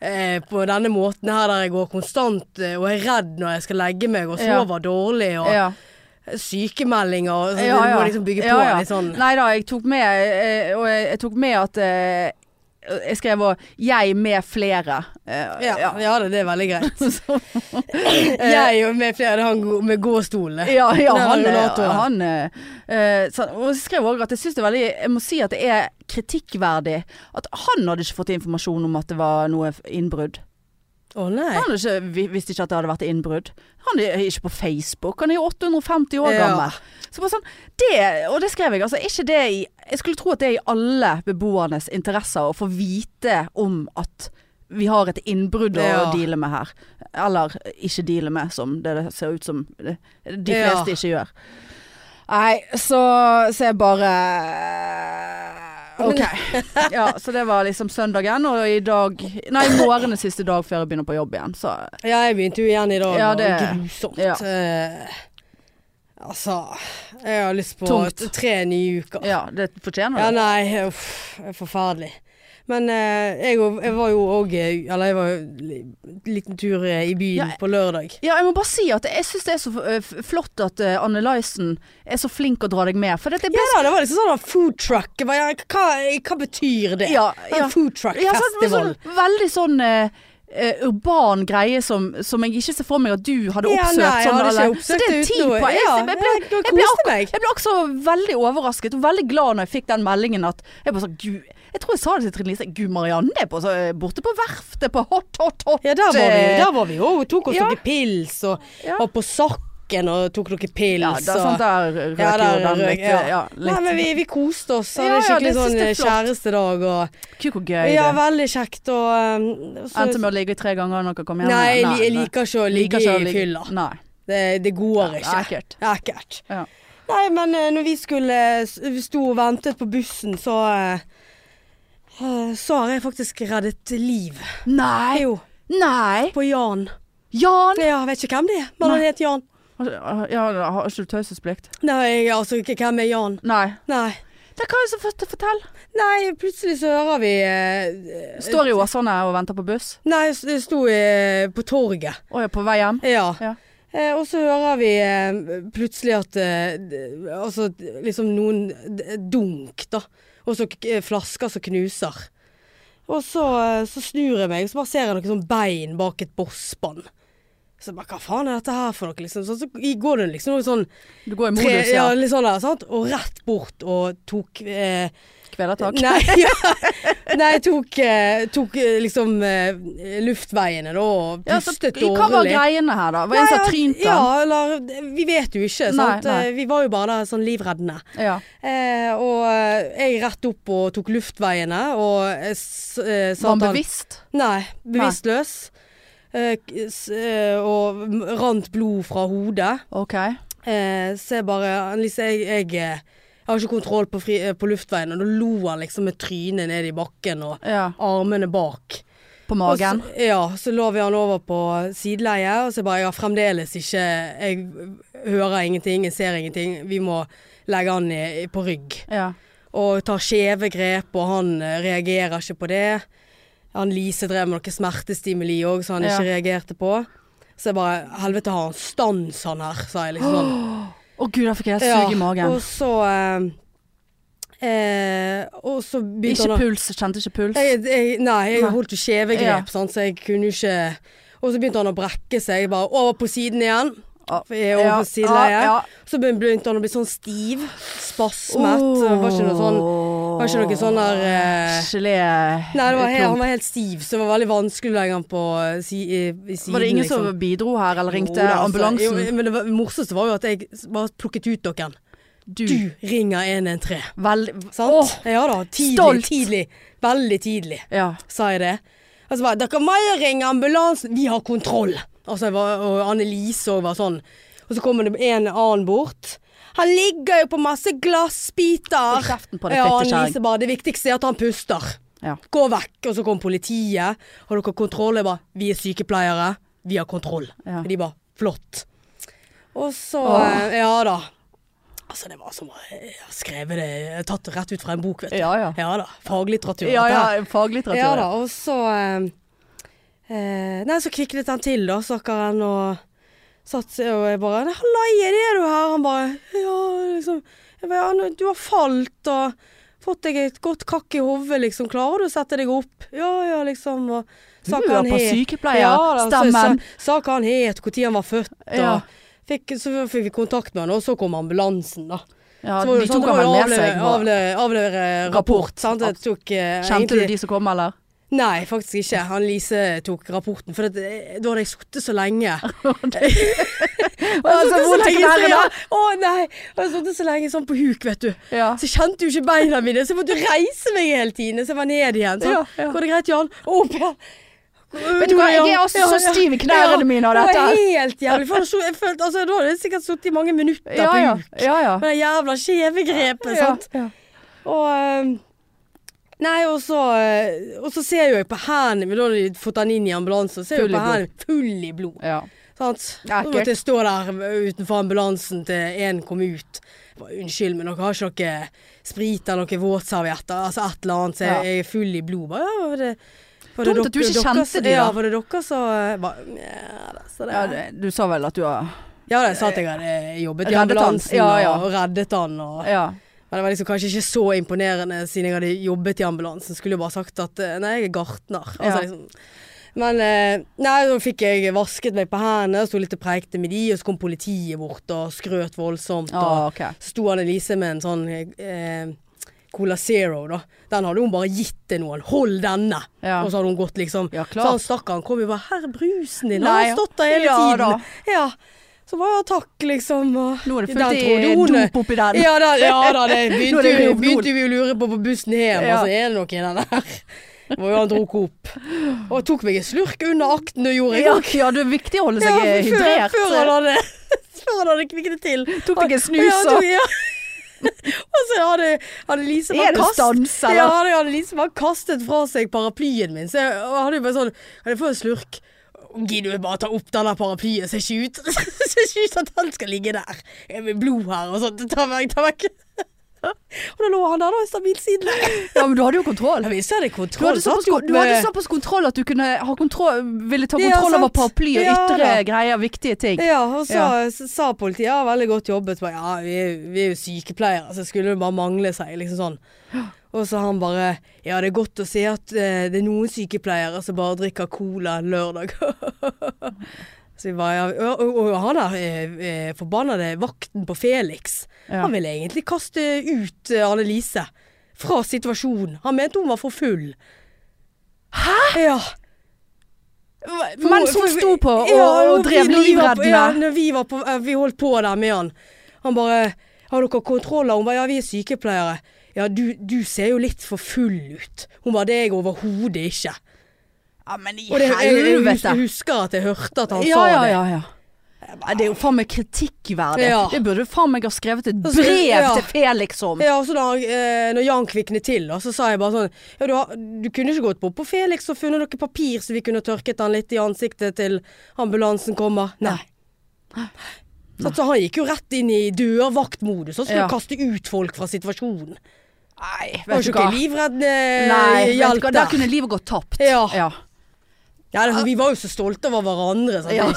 Speaker 2: eh, på denne måten her, der jeg går konstant eh, og er redd når jeg skal legge meg og
Speaker 1: Ja.
Speaker 2: sover dårlig, og
Speaker 1: Ja.
Speaker 2: sykemeldinger og sånn.
Speaker 1: Ja,
Speaker 2: Du
Speaker 1: ja.
Speaker 2: må liksom bygge på
Speaker 1: Ja, ja.
Speaker 2: litt sånn.
Speaker 1: Nei da, jeg tok med eh, Og jeg jeg tok med at eh, Jeg skrev òg 'jeg med flere'. Eh,
Speaker 2: Ja, ja.
Speaker 1: ja.
Speaker 2: det, det er veldig greit. Eh,
Speaker 1: Så-
Speaker 2: Jeg og med flere, det er han go- med gåstolene.
Speaker 1: ja, ja,
Speaker 2: Den
Speaker 1: han,
Speaker 2: rullatoren.
Speaker 1: eh, han eh, eh, så, Og jeg skrev òg at jeg syns det er veldig Jeg må si at det er kritikkverdig at han hadde ikke fått informasjon om at det var noe innbrudd.
Speaker 2: Å nei.
Speaker 1: Han hadde ikke, vi- visste ikke at det hadde vært innbrudd. Han er ikke på Facebook, han er jo 850 år
Speaker 2: Ja.
Speaker 1: gammel. Så bare sånn, det, og det skrev jeg, altså. er Ikke det i, jeg skulle tro at det er i alle beboernes interesser å få vite om at vi har et innbrudd
Speaker 2: Ja.
Speaker 1: å deale med her. Eller ikke deale med, som det ser ut som de
Speaker 2: Ja.
Speaker 1: fleste ikke gjør. Nei, så, så jeg bare OK. Ja, så det var liksom søndagen, og i dag Nei, i morgen er siste dag før jeg begynner på jobb igjen, så
Speaker 2: Ja, jeg begynte jo igjen i dag,
Speaker 1: Ja,
Speaker 2: og
Speaker 1: det-
Speaker 2: grusomt.
Speaker 1: ja.
Speaker 2: Eh, altså, jeg har lyst på
Speaker 1: Tungt.
Speaker 2: tre nye uker.
Speaker 1: ja, det
Speaker 2: Ja,
Speaker 1: fortjener du.
Speaker 2: nei, uff, det er forferdelig. Men eh, jeg, og- jeg var jo òg Eller jeg var jo li- liten tur eh, i byen
Speaker 1: Ja.
Speaker 2: på lørdag.
Speaker 1: Ja, jeg må bare si at jeg syns det er så eh, f- flott at eh, Anne Lysen er så flink å dra deg med, for dette
Speaker 2: Ja
Speaker 1: ble
Speaker 2: da, det var liksom sånn food truck. Jeg bare, ja, hva, hva betyr det?
Speaker 1: Ja,
Speaker 2: En
Speaker 1: ja.
Speaker 2: food truck
Speaker 1: Ja, sant, men
Speaker 2: festival.
Speaker 1: sånn, veldig sånn eh, eh, urban greie som, som jeg ikke ser for meg at du hadde
Speaker 2: Ja,
Speaker 1: oppsøkt.
Speaker 2: nei, jeg
Speaker 1: sånn,
Speaker 2: hadde ikke
Speaker 1: alle-
Speaker 2: oppsøkt
Speaker 1: så det er
Speaker 2: det
Speaker 1: ti
Speaker 2: uten noe-
Speaker 1: poeng. Jeg,
Speaker 2: ja,
Speaker 1: jeg, ble,
Speaker 2: jeg- jeg
Speaker 1: jeg, ble
Speaker 2: koste
Speaker 1: akkur-
Speaker 2: meg.
Speaker 1: jeg ble også veldig overrasket og veldig glad når jeg fikk den meldingen at Jeg bare sa Gud Jeg tror jeg sa det til Trine Lise. Gud, Marianne er på, så, eh, borte på verftet på Hot Hot Hot.
Speaker 2: ja, der var vi
Speaker 1: eh,
Speaker 2: der var vi jo. Vi tok oss
Speaker 1: ja.
Speaker 2: noen pils og
Speaker 1: Ja.
Speaker 2: var på Sakken og tok noen pils.
Speaker 1: Ja, da,
Speaker 2: og,
Speaker 1: sånn der røk
Speaker 2: Ja,
Speaker 1: jo
Speaker 2: der
Speaker 1: den
Speaker 2: røk-
Speaker 1: litt. Ja.
Speaker 2: ja.
Speaker 1: litt.
Speaker 2: Nei, men vi, vi koste oss.
Speaker 1: Ja,
Speaker 2: Hadde
Speaker 1: ja,
Speaker 2: skikkelig
Speaker 1: det synes
Speaker 2: sånn eh,
Speaker 1: jeg er
Speaker 2: kjærestedag og
Speaker 1: Gud, hvor gøy
Speaker 2: Ja,
Speaker 1: det
Speaker 2: veldig kjekt og eh, så-
Speaker 1: Endte med å ligge tre ganger når dere kom hjem.
Speaker 2: Nei, jeg, li- jeg liker ikke å ligge
Speaker 1: ikke å
Speaker 2: i
Speaker 1: ligge-
Speaker 2: fylla.
Speaker 1: Nei.
Speaker 2: Det, det går
Speaker 1: Det
Speaker 2: ikke.
Speaker 1: er Ekkelt.
Speaker 2: Det er ekkelt.
Speaker 1: Ja.
Speaker 2: Nei, men eh, når vi skulle eh, s- vi sto og ventet på bussen, så eh, eh, Så har jeg faktisk reddet liv.
Speaker 1: Nei.
Speaker 2: Jo,
Speaker 1: Nei.
Speaker 2: på Jan.
Speaker 1: Jan.
Speaker 2: Ja, jeg vet ikke hvem det er, men han
Speaker 1: Nei.
Speaker 2: het Jan. Altså, ah,
Speaker 1: Ja, har ikke du taushetsplikt?
Speaker 2: Nei, altså, ikke hvem er Jan?
Speaker 1: Nei.
Speaker 2: Nei.
Speaker 1: Det kan jeg så fort fortelle.
Speaker 2: Nei, plutselig så hører vi eh,
Speaker 1: Står i Åsane og venter på buss.
Speaker 2: Nei, s- det sto eh, på torget.
Speaker 1: Å, jeg er på vei hjem.
Speaker 2: Ja.
Speaker 1: Ja.
Speaker 2: Eh, og så hører vi eh, plutselig at eh, d- Altså d- liksom noen d- dunk, da. Og så k- eh, flasker som knuser. Og så, eh, så snur jeg meg, og så bare ser jeg noen sånn bein bak et bossbånd. Så jeg bare hva faen er dette her for noe, liksom. Så, så i- går det liksom noe sånn
Speaker 1: Du går
Speaker 2: tre,
Speaker 1: i modus,
Speaker 2: ja,
Speaker 1: ja.
Speaker 2: litt sånn der, sant. Og rett bort og tok eh,
Speaker 1: Kvelertak.
Speaker 2: Nei, ja. Nei jeg tok, eh, tok eh, liksom eh, luftveiene da, og
Speaker 1: Ja, så,
Speaker 2: pustet
Speaker 1: hva var
Speaker 2: dårlig.
Speaker 1: greiene her, da? Var det en som
Speaker 2: Nei,
Speaker 1: trynte?
Speaker 2: Ja, eller Vi vet jo ikke, sant.
Speaker 1: Nei, nei.
Speaker 2: Eh, Vi var jo bare der sånn livreddende.
Speaker 1: Ja.
Speaker 2: Eh, og eh, jeg rett opp og tok luftveiene, og eh, s- eh, sa
Speaker 1: Var han
Speaker 2: at
Speaker 1: bevisst?
Speaker 2: Nei, bevisstløs. Eh, k- s- eh, og m- rant blod fra hodet.
Speaker 1: OK.
Speaker 2: Eh, så jeg bare Annelise, jeg, jeg, eh, jeg har ikke kontroll på, fri, eh, på luftveiene. Og da lo han liksom med trynet ned i bakken og
Speaker 1: Ja.
Speaker 2: armene bak.
Speaker 1: På magen?
Speaker 2: Og Så, ja, så lå vi han over på sideleie, og så bare jeg har fremdeles ikke Jeg hører ingenting, jeg ser ingenting. Vi må legge han i, i- på rygg.
Speaker 1: Ja.
Speaker 2: Og tar skjeve grep, og han eh, reagerer ikke på det. Han Lise drev med noe smertestimuli òg, så han
Speaker 1: Ja.
Speaker 2: ikke reagerte på. Så jeg bare Helvete, har han stans, han her? sa jeg liksom sånn.
Speaker 1: Å gud, da fikk jeg sug i magen.
Speaker 2: Og så eh, eh, Og så begynte
Speaker 1: Ikke
Speaker 2: han å
Speaker 1: puls. Kjente ikke puls.
Speaker 2: jeg, jeg, nei, jeg
Speaker 1: Nei.
Speaker 2: holdt jo skjeve grep,
Speaker 1: Ja.
Speaker 2: sant, så jeg kunne jo ikke Og så begynte han å brekke seg. Jeg Bare over på siden igjen.
Speaker 1: Ja.
Speaker 2: Vi er over
Speaker 1: Ah, Ja, Ah,
Speaker 2: på sideleie.
Speaker 1: ja, ja.
Speaker 2: Så be- begynte han å bli sånn stiv. Spasmet. så Det var ikke noe sånn var ikke noe sånn der, eh,
Speaker 1: Gelé
Speaker 2: Nei, det var helt, han
Speaker 1: klump.
Speaker 2: var helt stiv, så det var veldig vanskelig å legge han på eh, si, i, i siden.
Speaker 1: Var det ingen
Speaker 2: liksom.
Speaker 1: som bidro her, eller ringte
Speaker 2: Jo, da, altså,
Speaker 1: ambulansen? Mm.
Speaker 2: Jo, men det var- det morsomste var jo at jeg s- bare plukket ut noen.
Speaker 1: du.
Speaker 2: Du ringer 113.
Speaker 1: Vel,
Speaker 2: Sant?
Speaker 1: Åh,
Speaker 2: ja da. Tidlig.
Speaker 1: stolt.
Speaker 2: Tidlig. Veldig tidlig.
Speaker 1: ja.
Speaker 2: sa jeg det. Og så bare Dere må jo ringe ambulansen! Vi har kontroll! Og så var, og Annelise òg var sånn. Og så kommer det en annen bort. Han ligger jo på masse glassbiter!
Speaker 1: Hold kjeften på deg,
Speaker 2: ja,
Speaker 1: fittekjerring.
Speaker 2: Annelise bare Det viktigste er at han puster.
Speaker 1: Ja.
Speaker 2: Gå vekk! Og så kom politiet. Har dere kontroll? Jeg bare Vi er sykepleiere. Vi har kontroll.
Speaker 1: Ja.
Speaker 2: Og de bare Flott. Og så
Speaker 1: Åh.
Speaker 2: eh, Ja da. Altså, det var som å eh, skrevet det Tatt det rett ut fra en bok, vet du.
Speaker 1: Ja ja.
Speaker 2: Ja da. Faglitteratur.
Speaker 1: Ja
Speaker 2: dette her.
Speaker 1: ja, faglitteratur.
Speaker 2: Ja da, og så eh, eh, Nei, så kviknet han til da, stakkaren, og satt seg og jeg bare 'Hallaien, er du her?' Han bare 'Ja, liksom jeg bare, «Ja, Du har falt og fått deg et godt kakk i hodet, liksom. Klarer du å sette deg opp?' 'Ja, ja, liksom.' Og sa
Speaker 1: Du
Speaker 2: hva
Speaker 1: er
Speaker 2: han
Speaker 1: på
Speaker 2: het. da, så
Speaker 1: sykepleierstemmen.
Speaker 2: Sa, sa hva han het, når han var født, og
Speaker 1: Ja.
Speaker 2: fikk, Så fikk vi kontakt med han, og så kom ambulansen, da.
Speaker 1: Ja,
Speaker 2: så var
Speaker 1: de
Speaker 2: det sånn,
Speaker 1: tok
Speaker 2: det var
Speaker 1: han vel
Speaker 2: jo
Speaker 1: med seg.
Speaker 2: avlevere-
Speaker 1: og-
Speaker 2: avlevere- Avlevere rapport.
Speaker 1: Rapport.
Speaker 2: sant? Det tok, eh,
Speaker 1: Kjente du
Speaker 2: egentlig-
Speaker 1: de som kom, eller?
Speaker 2: Nei, faktisk ikke. Han Lise tok rapporten, for det, da hadde jeg sittet så lenge.
Speaker 1: Og jeg
Speaker 2: Jeg
Speaker 1: så
Speaker 2: hadde
Speaker 1: vondt i
Speaker 2: sittet så lenge,
Speaker 1: knærne!
Speaker 2: ja. Å nei! Jeg hadde sittet så lenge sånn på huk, vet du.
Speaker 1: Ja.
Speaker 2: Så jeg kjente jo ikke beina mine, så jeg måtte reise meg hele tiden. Så jeg var ned igjen. Så
Speaker 1: Ja, ja.
Speaker 2: går det greit, Jan? Og Opp igjen.
Speaker 1: Vet du hva, jeg er også så stiv i knærne mine av dette.
Speaker 2: Det var helt jævlig. For da så- jeg følte, altså, da hadde jeg sikkert sittet i mange minutter
Speaker 1: Ja ja.
Speaker 2: på huk.
Speaker 1: ja, ja.
Speaker 2: Med det jævla skjeve grepet, sant.
Speaker 1: Ja,
Speaker 2: Og eh, Nei, og så, eh, og så ser jo jeg på hendene mine, da har de fått han inn i ambulansen, og ser
Speaker 1: Full
Speaker 2: jo
Speaker 1: i
Speaker 2: på
Speaker 1: blod.
Speaker 2: hendene full i blod.
Speaker 1: ja.
Speaker 2: Sant?
Speaker 1: Ja,
Speaker 2: Da måtte jeg stå der utenfor ambulansen til en kom ut. Jeg bare, Unnskyld, men dere har ikke noe sprit eller noe våtservietter? Altså et eller annet, så
Speaker 1: Ja.
Speaker 2: jeg jeg er full i blod. Bare, ja, var det, var
Speaker 1: Dumt at du ikke
Speaker 2: dere-
Speaker 1: kjente
Speaker 2: som-
Speaker 1: de, da.
Speaker 2: Ja, var det dere som eh, bare, ja, da, så det,
Speaker 1: Ja, det- Du sa vel at du har
Speaker 2: ja, da, jeg sa at jeg hadde eh, jobbet i
Speaker 1: Reddet han.
Speaker 2: ambulansen
Speaker 1: Ja, ja.
Speaker 2: og reddet han. Og,
Speaker 1: Ja.
Speaker 2: men det var liksom kanskje ikke så imponerende siden jeg hadde jobbet i ambulansen. Skulle jo bare sagt at eh, nei, jeg er gartner. Altså,
Speaker 1: Ja.
Speaker 2: liksom. Men eh, nei, da fikk jeg vasket meg på hendene, sto litt og preikte med de, og så kom politiet bort og skrøt voldsomt.
Speaker 1: Å,
Speaker 2: Og
Speaker 1: ok.
Speaker 2: så sto han Elise med en sånn eh, Cola Zero, da. Den hadde hun bare gitt til noen. 'Hold denne!'
Speaker 1: Ja.
Speaker 2: Og så hadde hun gått, liksom.
Speaker 1: Ja,
Speaker 2: så han
Speaker 1: klart.
Speaker 2: stakkaren kom jo bare 'Her er brusen din!'
Speaker 1: Nei,
Speaker 2: han har stått der hele
Speaker 1: ja da.
Speaker 2: tiden. Ja. Så bare ja, takk, liksom. Og
Speaker 1: Nå er det
Speaker 2: den
Speaker 1: fullt
Speaker 2: trodde
Speaker 1: i
Speaker 2: hun-
Speaker 1: dop oppi den.
Speaker 2: ja da, ja, da det
Speaker 1: Nå er
Speaker 2: begynte,
Speaker 1: det
Speaker 2: vi,
Speaker 1: Rohypnol.
Speaker 2: begynte vi å lure på på bussen hjem,
Speaker 1: Ja.
Speaker 2: og så er det noe i den der. Hvor jo han dro opp. Og tok meg en slurk under akten og gjorde jeg
Speaker 1: Ja,
Speaker 2: òg.
Speaker 1: ja, det er viktig å holde seg
Speaker 2: Ja, for før,
Speaker 1: hydrert.
Speaker 2: før han hadde Før han hadde kviknet til.
Speaker 1: Tok deg en snus,
Speaker 2: Ja,
Speaker 1: og
Speaker 2: tok- ja. Og så hadde, hadde Lise
Speaker 1: er
Speaker 2: bare
Speaker 1: det
Speaker 2: kast-
Speaker 1: stans, eller?
Speaker 2: Ja, hadde, hadde Lise bare kastet fra seg paraplyen min, så jeg og hadde jo bare sånn Kan jeg få en slurk? Gidder du bare ta opp den der paraplyen? Ser ikke ut Ser ikke ut at den skal ligge der. Jeg vil blod her og sånt. Ta vekk, ta vekk. Og da lå han der, da, i stabil siden.
Speaker 1: Ja, men du hadde jo kontroll.
Speaker 2: Jeg visste jeg hadde
Speaker 1: Du
Speaker 2: kontroll.
Speaker 1: hadde, såpass, kon- du hadde såpass kontroll at du kunne ha kontroll, ville ta
Speaker 2: Ja,
Speaker 1: kontroll over
Speaker 2: sant.
Speaker 1: paraply og
Speaker 2: Ja,
Speaker 1: ytre
Speaker 2: da.
Speaker 1: greier, viktige ting.
Speaker 2: Ja, og så
Speaker 1: Ja.
Speaker 2: så sa politiet ja, veldig godt jobbet. Bare, ja, vi er, jo- vi er jo sykepleiere, så skulle det bare mangle seg, liksom sånn. Og så han bare Ja, det er godt å se at eh, det er noen sykepleiere som bare drikker cola en lørdag. så vi bare ja, og, og, og han der eh, eh, forbannede vakten på Felix,
Speaker 1: Ja.
Speaker 2: han ville egentlig kaste ut eh, Annelise fra situasjonen. Han mente hun var for full. Hæ?! Ja. For
Speaker 1: Mens
Speaker 2: hun-
Speaker 1: hun
Speaker 2: for-
Speaker 1: sto på og,
Speaker 2: Ja,
Speaker 1: og
Speaker 2: vi-
Speaker 1: drev
Speaker 2: når vi var på- Ja,
Speaker 1: livreddende.
Speaker 2: når vi, var på, eh, vi holdt på der med han. Han bare 'Har dere kontroller?' Hun bare 'Ja, vi er sykepleiere'. 'Ja, du, du ser jo litt for full ut'. Hun bare 'Det er jeg overhodet ikke'.
Speaker 1: Ja, men i
Speaker 2: Og det, jeg, jeg, hus-
Speaker 1: helvete.
Speaker 2: jeg husker at jeg hørte at han
Speaker 1: Ja,
Speaker 2: sa
Speaker 1: ja,
Speaker 2: det.
Speaker 1: ja, ja. Ja, Det er jo faen meg kritikkverdig.
Speaker 2: Ja.
Speaker 1: Det burde du faen meg ha skrevet et
Speaker 2: Altså,
Speaker 1: brev
Speaker 2: ja.
Speaker 1: til Felix om.
Speaker 2: Ja, og så da, eh, når Jan kviknet til, da, så sa jeg bare sånn Ja, du, har, du kunne ikke gått bort på Felix og funnet noe papir så vi kunne tørket han litt i ansiktet til ambulansen kommer? Nei. Så, så han gikk jo rett inn i dørvaktmodus og skulle
Speaker 1: Ja.
Speaker 2: kaste ut folk fra situasjonen.
Speaker 1: Nei,
Speaker 2: Det var
Speaker 1: vet
Speaker 2: jo
Speaker 1: du
Speaker 2: ikke
Speaker 1: hva.
Speaker 2: livreddende
Speaker 1: Nei, vet du
Speaker 2: hjelp
Speaker 1: hva. Der
Speaker 2: der.
Speaker 1: kunne livet gått tapt.
Speaker 2: Ja.
Speaker 1: ja.
Speaker 2: Ja, det, vi var jo så stolte over hverandre. Sant?
Speaker 1: Ja.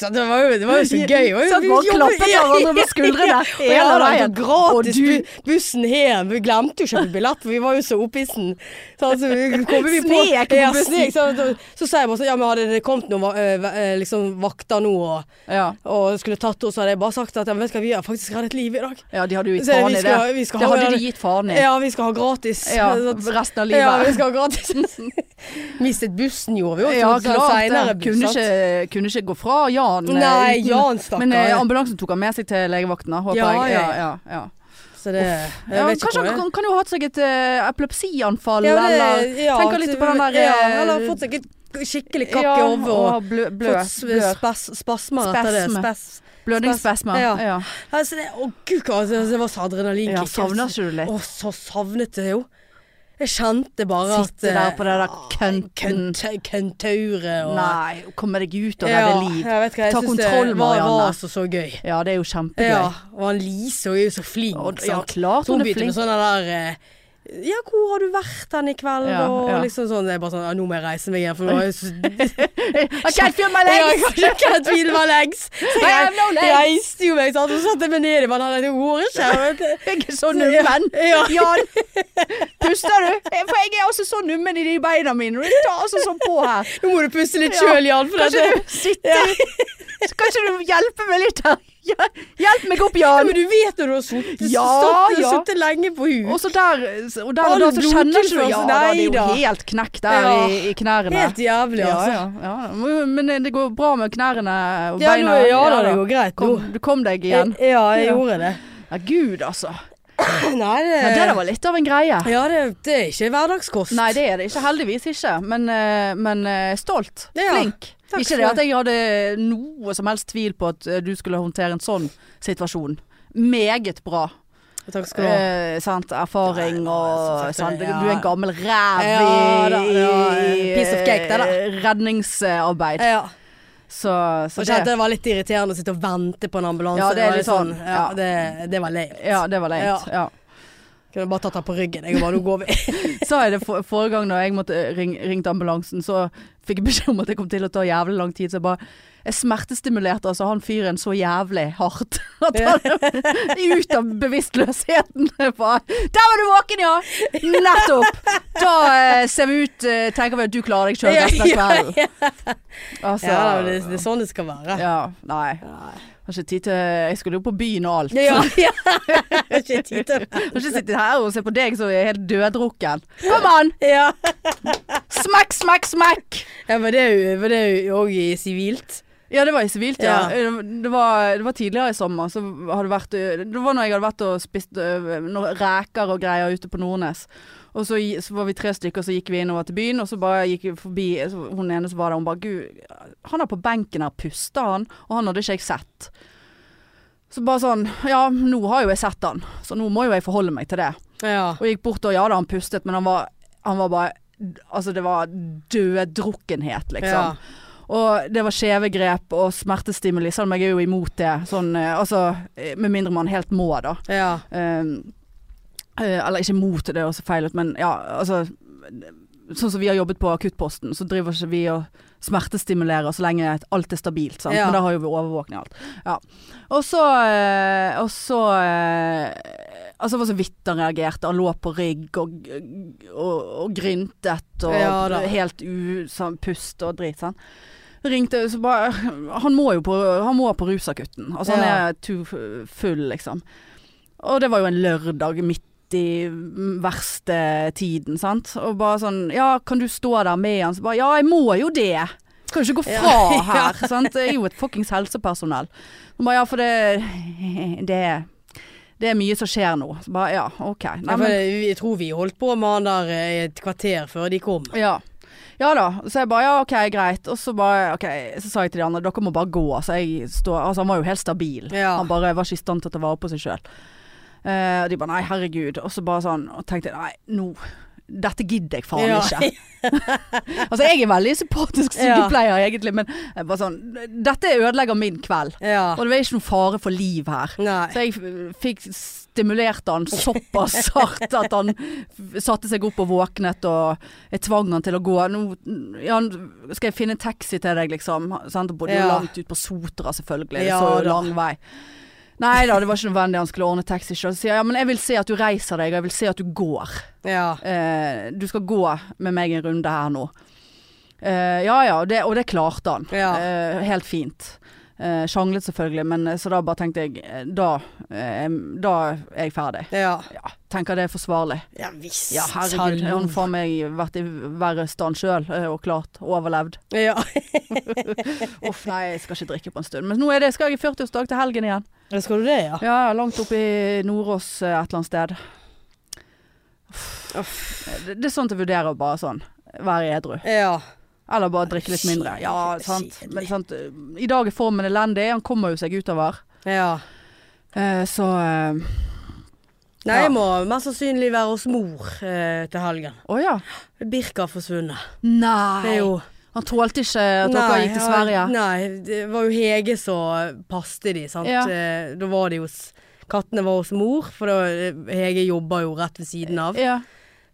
Speaker 2: Så det, var jo, det var jo så gøy. Det var jo-
Speaker 1: Sånn,
Speaker 2: vi
Speaker 1: bare
Speaker 2: jobbet-
Speaker 1: klappet
Speaker 2: Ja,
Speaker 1: hverandre på
Speaker 2: ja,
Speaker 1: skuldrene
Speaker 2: ja.
Speaker 1: hele
Speaker 2: Ja, da,
Speaker 1: veien.
Speaker 2: og gratis
Speaker 1: Og du-
Speaker 2: bu- bussen hjem. Vi glemte jo å kjøpe billett, for vi var jo så oppissen. Så, altså, vi- kommer vi på-
Speaker 1: Snek på
Speaker 2: Ja,
Speaker 1: bussen.
Speaker 2: snek, så, så, så sa jeg bare sånn Ja, men hadde det kommet noen va- eh, va- eh, liksom, vakter nå og,
Speaker 1: Ja.
Speaker 2: og skulle tatt oss, hadde jeg bare sagt at ja, men vet du hva, vi har faktisk reddet livet i dag.
Speaker 1: ja, de hadde jo gitt
Speaker 2: Så
Speaker 1: faen
Speaker 2: vi
Speaker 1: i det.
Speaker 2: skal- vi skal
Speaker 1: Det
Speaker 2: ha-
Speaker 1: hadde de gitt faen i.
Speaker 2: Ja, vi skal ha gratis.
Speaker 1: Ja,
Speaker 2: Så-
Speaker 1: resten av
Speaker 2: Ja, vi
Speaker 1: livet.
Speaker 2: skal ha gratis. Mistet bussen gjorde vi også.
Speaker 1: Ja,
Speaker 2: så senere
Speaker 1: klart det.
Speaker 2: buss,
Speaker 1: Kunne
Speaker 2: sant?
Speaker 1: ikke, kunne ikke gå fra Jan. eh,
Speaker 2: Nei,
Speaker 1: uten-
Speaker 2: Jan, stakkar.
Speaker 1: Men eh, ambulansen tok han med seg til legevakten, da, håper
Speaker 2: Ja,
Speaker 1: jeg.
Speaker 2: ja,
Speaker 1: Ja, ja, ja.
Speaker 2: Så det jeg
Speaker 1: Ja,
Speaker 2: vet ikke
Speaker 1: kanskje
Speaker 2: hvor jeg-
Speaker 1: han kan, kan jo ha hatt seg et eh, epilepsianfall,
Speaker 2: Ja, det-
Speaker 1: eller
Speaker 2: ja,
Speaker 1: tenker litt på den der
Speaker 2: Ja,
Speaker 1: eh,
Speaker 2: eller fått seg et skikkelig kakk i
Speaker 1: ja,
Speaker 2: hodet
Speaker 1: og
Speaker 2: og
Speaker 1: har blø, blø,
Speaker 2: fått s-
Speaker 1: blør.
Speaker 2: spas, spasmer etter det.
Speaker 1: Spasme.
Speaker 2: Spas.
Speaker 1: blødningsspesme.
Speaker 2: Ja.
Speaker 1: Ja.
Speaker 2: Altså, det, å gud, hva- altså, det var så adrenalinkick.
Speaker 1: ja, savner
Speaker 2: altså.
Speaker 1: ikke du litt?
Speaker 2: Å, så savnet jeg jo. Jeg kjente bare at
Speaker 1: Sitte der på det der
Speaker 2: eh,
Speaker 1: kønten.
Speaker 2: kønt- Køntauret og
Speaker 1: Nei, komme deg ut av det liv.
Speaker 2: Jeg vet hva, jeg
Speaker 1: Ta
Speaker 2: synes
Speaker 1: kontroll,
Speaker 2: det var, var
Speaker 1: Marianne.
Speaker 2: altså så gøy.
Speaker 1: Ja, det er jo kjempegøy.
Speaker 2: Ja, og han Lise hun er jo så flink.
Speaker 1: Og, ja,
Speaker 2: sant?
Speaker 1: klart
Speaker 2: Så hun
Speaker 1: hun er
Speaker 2: begynte med
Speaker 1: flink.
Speaker 2: sånne der eh, Ja, hvor har du vært hen i kveld?
Speaker 1: Ja,
Speaker 2: og
Speaker 1: ja.
Speaker 2: liksom sånn. Det er bare sånn ja, Nå må jeg reise meg igjen, for nå har jeg så
Speaker 1: I can't feel my
Speaker 2: Ja, jeg
Speaker 1: legs!
Speaker 2: kan ikke tvile meg legs. Så
Speaker 1: I have
Speaker 2: jeg
Speaker 1: no legs!
Speaker 2: reiste jo meg, sant. Og så satte jeg meg ned i vannet. Det går ikke. vet du.
Speaker 1: Jeg er så nummen.
Speaker 2: Ja.
Speaker 1: Jan, puster du? For jeg er også så nummen i de beina mine. Du tar altså sånn på her.
Speaker 2: Nå må du puste litt
Speaker 1: Ja.
Speaker 2: sjøl, Jan. For
Speaker 1: Kan
Speaker 2: dette.
Speaker 1: ikke du sitte Så Kan ikke du hjelpe meg litt her? Ja, Hjelp meg opp, Jan!
Speaker 2: Men du vet når du har sittet
Speaker 1: Ja,
Speaker 2: stått-
Speaker 1: ja.
Speaker 2: sittet lenge på huk.
Speaker 1: Og så der, og der,
Speaker 2: Har
Speaker 1: og
Speaker 2: du
Speaker 1: da så kjenner ikke du
Speaker 2: blodtilførsel?
Speaker 1: Ja da, det er jo
Speaker 2: Nei da.
Speaker 1: helt knekk der
Speaker 2: Ja.
Speaker 1: i, i knærne.
Speaker 2: Helt jævlig,
Speaker 1: ja,
Speaker 2: altså.
Speaker 1: ja, ja. Men eh, det går bra med knærne og
Speaker 2: Ja, nå,
Speaker 1: beina.
Speaker 2: ja da, det går greit nå.
Speaker 1: Kom, du kom deg igjen.
Speaker 2: Ja, jeg
Speaker 1: Ja.
Speaker 2: gjorde det.
Speaker 1: Ja, gud altså.
Speaker 2: Nei, det,
Speaker 1: Men det der var litt av en greie.
Speaker 2: Ja, det, det er ikke hverdagskost.
Speaker 1: Nei, det er det ikke. Heldigvis ikke. Men, eh, men eh, stolt.
Speaker 2: Ja,
Speaker 1: Flink.
Speaker 2: takk
Speaker 1: ikke
Speaker 2: skal
Speaker 1: det at
Speaker 2: du
Speaker 1: jeg hadde noe som helst tvil på at eh, du skulle håndtere en sånn situasjon. Meget bra.
Speaker 2: Takk skal du ha.
Speaker 1: Eh, sant? Erfaring
Speaker 2: Nei, nei,
Speaker 1: og
Speaker 2: jeg synes
Speaker 1: sant?
Speaker 2: det,
Speaker 1: Du
Speaker 2: ja.
Speaker 1: er en gammel ræv i,
Speaker 2: Ja, da, ja,
Speaker 1: i,
Speaker 2: piece of cake, det da.
Speaker 1: eh, redningsarbeid.
Speaker 2: Ja.
Speaker 1: Så, så
Speaker 2: Og kjente
Speaker 1: det
Speaker 2: det var litt irriterende å sitte og vente på en ambulanse.
Speaker 1: Ja, det er
Speaker 2: var
Speaker 1: litt sånn,
Speaker 2: Ja,
Speaker 1: ja.
Speaker 2: det, det var leit.
Speaker 1: Ja, det var leit. Ja.
Speaker 2: Kunne bare tatt han på ryggen. Jeg bare, nå går vi.
Speaker 1: Sa jeg det for, forrige gang når jeg måtte eh, ring, ringte ambulansen, så fikk jeg beskjed om at det kom til å ta jævlig lang tid. Så jeg bare Jeg smertestimulerte altså han fyren så jævlig hardt at han ut av bevisstløsheten. Jeg bare, Der var du våken, ja! Nettopp! Da eh, ser vi ut eh, Tenker vi at du klarer deg sjøl
Speaker 2: Ja,
Speaker 1: resten av kvelden. Altså
Speaker 2: Ja, da, det, det er sånn det skal være.
Speaker 1: ja, nei. Har ikke tid til Jeg skulle jo på byen og alt.
Speaker 2: Ja, ja. Ikke tid til det.
Speaker 1: Kan ikke sitte her og se på deg som er helt døddrukken. Kom an!
Speaker 2: Ja.
Speaker 1: Smekk, smekk, smekk!
Speaker 2: ja, men det er jo- men det er jo òg i sivilt.
Speaker 1: Ja, det var i sivilt, ja.
Speaker 2: Ja.
Speaker 1: Det, var, det var tidligere i sommer. Så hadde det vært, det var når jeg hadde vært og spist øh, noen reker og greier ute på Nordnes. Og så, gi- så var vi tre stykker, så gikk vi innover til byen, og så bare gikk vi forbi så hun ene som var der. Hun bare Gud, han er på benken her, puster han? Og han hadde ikke jeg sett. Så bare sånn Ja, nå har jo jeg sett han, så nå må jo jeg forholde meg til det.
Speaker 2: Ja.
Speaker 1: Og gikk bort og ja da, han pustet, men han var, han var bare Altså, det var døddrukkenhet, liksom.
Speaker 2: Ja.
Speaker 1: Og det var skjeve grep og smertestimuli, selv om jeg er jo imot det. Sånn, eh, altså, eh, med mindre man helt må, da.
Speaker 2: ja.
Speaker 1: Ehm, eh, eller ikke mot, det er også feil, ut, men ja, altså Sånn som vi har jobbet på akuttposten, så driver ikke vi og smertestimulerer så lenge alt er stabilt. Sant?
Speaker 2: Ja.
Speaker 1: Men da har jo vi overvåkning og alt. Ja. Og så eh, Og så eh, Altså, det var så vidt han reagerte. Han lå på rygg og, og, og gryntet og
Speaker 2: Ja da.
Speaker 1: helt upust og drit. Sant? Ringte så bare Han må jo på, han må på rusakutten. Altså, han
Speaker 2: Ja.
Speaker 1: er too full, liksom. Og det var jo en lørdag midt i mm, verste tiden, sant. Og bare sånn Ja, kan du stå der med han? Så bare Ja, jeg må jo det. Skal jo ikke gå fra
Speaker 2: Ja.
Speaker 1: her, sant. Jeg er jo et fuckings helsepersonell. Så bare ja, for det Det, det er mye som skjer nå. Så bare ja, OK.
Speaker 2: Ja,
Speaker 1: Nei,
Speaker 2: for
Speaker 1: men
Speaker 2: det- jeg tror vi holdt på med han der eh, i et kvarter før de kom.
Speaker 1: ja. ja da. Så jeg bare ja, OK, greit. Og så bare OK, så sa jeg til de andre dere må bare gå. Så jeg står Altså, han var jo helt stabil.
Speaker 2: Ja.
Speaker 1: Han bare var ikke i stand til å ta vare på seg sjøl. Eh, og de bare nei, herregud. Og så bare sånn Og tenkte jeg nei, nå dette gidder jeg faen
Speaker 2: Ja.
Speaker 1: ikke. altså jeg er veldig sympatisk
Speaker 2: Ja.
Speaker 1: sykepleier egentlig, men jeg bare sånn Dette ødelegger min kveld.
Speaker 2: Ja.
Speaker 1: Og det var ikke noen fare for liv her.
Speaker 2: Nei.
Speaker 1: Så jeg f- fikk stimulert han såpass hardt at han f- satte seg opp og våknet, og jeg tvang han til å gå. Nå ja, n- skal jeg finne en taxi til deg, liksom. Sant? Og bodde jo
Speaker 2: Ja.
Speaker 1: langt ut på Sotra, selvfølgelig. Det
Speaker 2: Ja
Speaker 1: så jo
Speaker 2: da.
Speaker 1: lang vei. Nei da, det var ikke nødvendig han skulle ordne taxi sjøl. Så sier jeg ja, men jeg vil se at du reiser deg, og jeg vil se at du går.
Speaker 2: Ja.
Speaker 1: Eh, du skal gå med meg en runde her nå. Eh, ja ja, og det, og det klarte han.
Speaker 2: Ja.
Speaker 1: Eh, helt fint. Eh, sjanglet selvfølgelig, men eh, så da bare tenkte jeg eh, da, eh, da er jeg ferdig.
Speaker 2: Ja.
Speaker 1: Ja, tenker det er forsvarlig.
Speaker 2: Ja visst.
Speaker 1: Ja, herregud. Jeg har nå faen meg vært i verre stand sjøl, og klart overlevd.
Speaker 2: Ja.
Speaker 1: Uff, nei, jeg skal ikke drikke på en stund. Men nå er det, skal jeg i 40-årsdag til helgen igjen.
Speaker 2: Ja, Skal du det, ja?
Speaker 1: Ja, ja, langt oppe i Nordås eh, et eller annet sted. Eh, Det, det er sånt jeg vurderer, bare sånn. Være edru.
Speaker 2: Ja.
Speaker 1: Eller bare drikke litt mindre. Ja, sant.
Speaker 2: Kjedelig.
Speaker 1: Men sant. eh, I dag er formen elendig. Han kommer jo seg utover.
Speaker 2: Ja.
Speaker 1: Eh, så eh,
Speaker 2: Nei,
Speaker 1: Ja.
Speaker 2: jeg må mest sannsynlig være hos mor eh, til helgen.
Speaker 1: Å ja.
Speaker 2: Birka har forsvunnet. Det
Speaker 1: Nei.
Speaker 2: er jo
Speaker 1: Han tålte ikke at dere gikk til
Speaker 2: ja,
Speaker 1: Sverige.
Speaker 2: Nei, det var jo Hege som passte de, sant.
Speaker 1: Ja.
Speaker 2: Eh, Da var de hos Kattene var hos mor, for da, eh, Hege jobba jo rett ved siden av.
Speaker 1: Ja.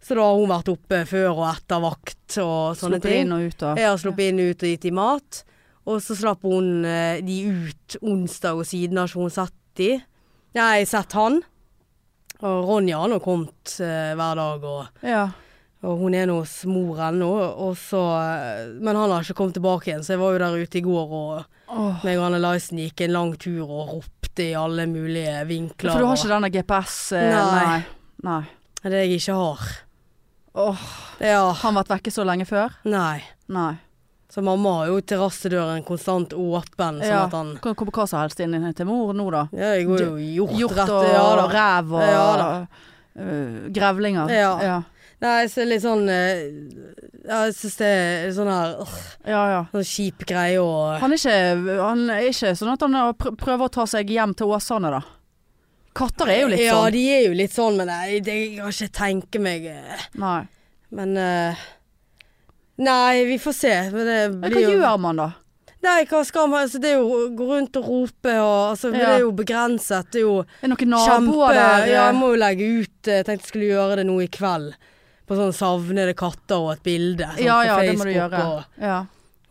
Speaker 2: Så da har hun vært oppe før og etter vakt og sånne
Speaker 1: Sluppet
Speaker 2: ting.
Speaker 1: inn og ut og
Speaker 2: Jeg har sluppet inn og ut og gitt dem mat. Og så slapp hun eh, de ut onsdag, og siden har ikke hun sett de. Nei, sett han. Og Ronja har nå kommet eh, hver dag, og,
Speaker 1: Ja.
Speaker 2: og hun er nå hos mor ennå. og så- Men han har ikke kommet tilbake igjen, så jeg var jo der ute i går, og
Speaker 1: Åh.
Speaker 2: meg og Anne Lysen gikk en lang tur og ropte i alle mulige vinkler.
Speaker 1: For du har ikke denne GPS? eh,
Speaker 2: Nei.
Speaker 1: Nei.
Speaker 2: og, det jeg ikke har.
Speaker 1: Åh,
Speaker 2: Ja,
Speaker 1: har han vært vekke så lenge før?
Speaker 2: nei.
Speaker 1: Nei.
Speaker 2: Så mamma har jo terrassedøren konstant åpen, sånn
Speaker 1: Ja.
Speaker 2: at han
Speaker 1: Kan komme hva som helst inn til mor nå, da.
Speaker 2: Ja, jeg går jo hjort,
Speaker 1: Hjort
Speaker 2: rett
Speaker 1: og
Speaker 2: ja, da.
Speaker 1: rev og
Speaker 2: Ja da.
Speaker 1: øh, grevlinger.
Speaker 2: Ja.
Speaker 1: ja.
Speaker 2: Nei, så litt sånn eh, ja, Jeg syns det er sånn her øh,
Speaker 1: ja, ja.
Speaker 2: Sånn kjip greie og
Speaker 1: Han er, ikke, han er ikke sånn at han har pr- prøver å ta seg hjem til Åsane, da. Katter er jo litt
Speaker 2: Ja,
Speaker 1: sånn.
Speaker 2: de er jo litt sånn, men jeg, det, jeg kan ikke tenke meg eh,
Speaker 1: Nei.
Speaker 2: Men eh, Nei, vi får se. Men det
Speaker 1: Men
Speaker 2: blir
Speaker 1: hva
Speaker 2: jo
Speaker 1: gjør man da?
Speaker 2: Nei, hva skal man altså, Det er jo å gå rundt og rope og altså, Det
Speaker 1: Ja.
Speaker 2: er jo begrenset. Det er jo
Speaker 1: Er det noen
Speaker 2: Kjempe
Speaker 1: naboer der?
Speaker 2: Ja, jeg må jo legge ut eh, Jeg tenkte jeg skulle gjøre det nå i kveld. På sånn savnede katter og et bilde. sånn,
Speaker 1: ja,
Speaker 2: på
Speaker 1: ja, det må du
Speaker 2: Facebook
Speaker 1: gjøre.
Speaker 2: Og,
Speaker 1: Ja.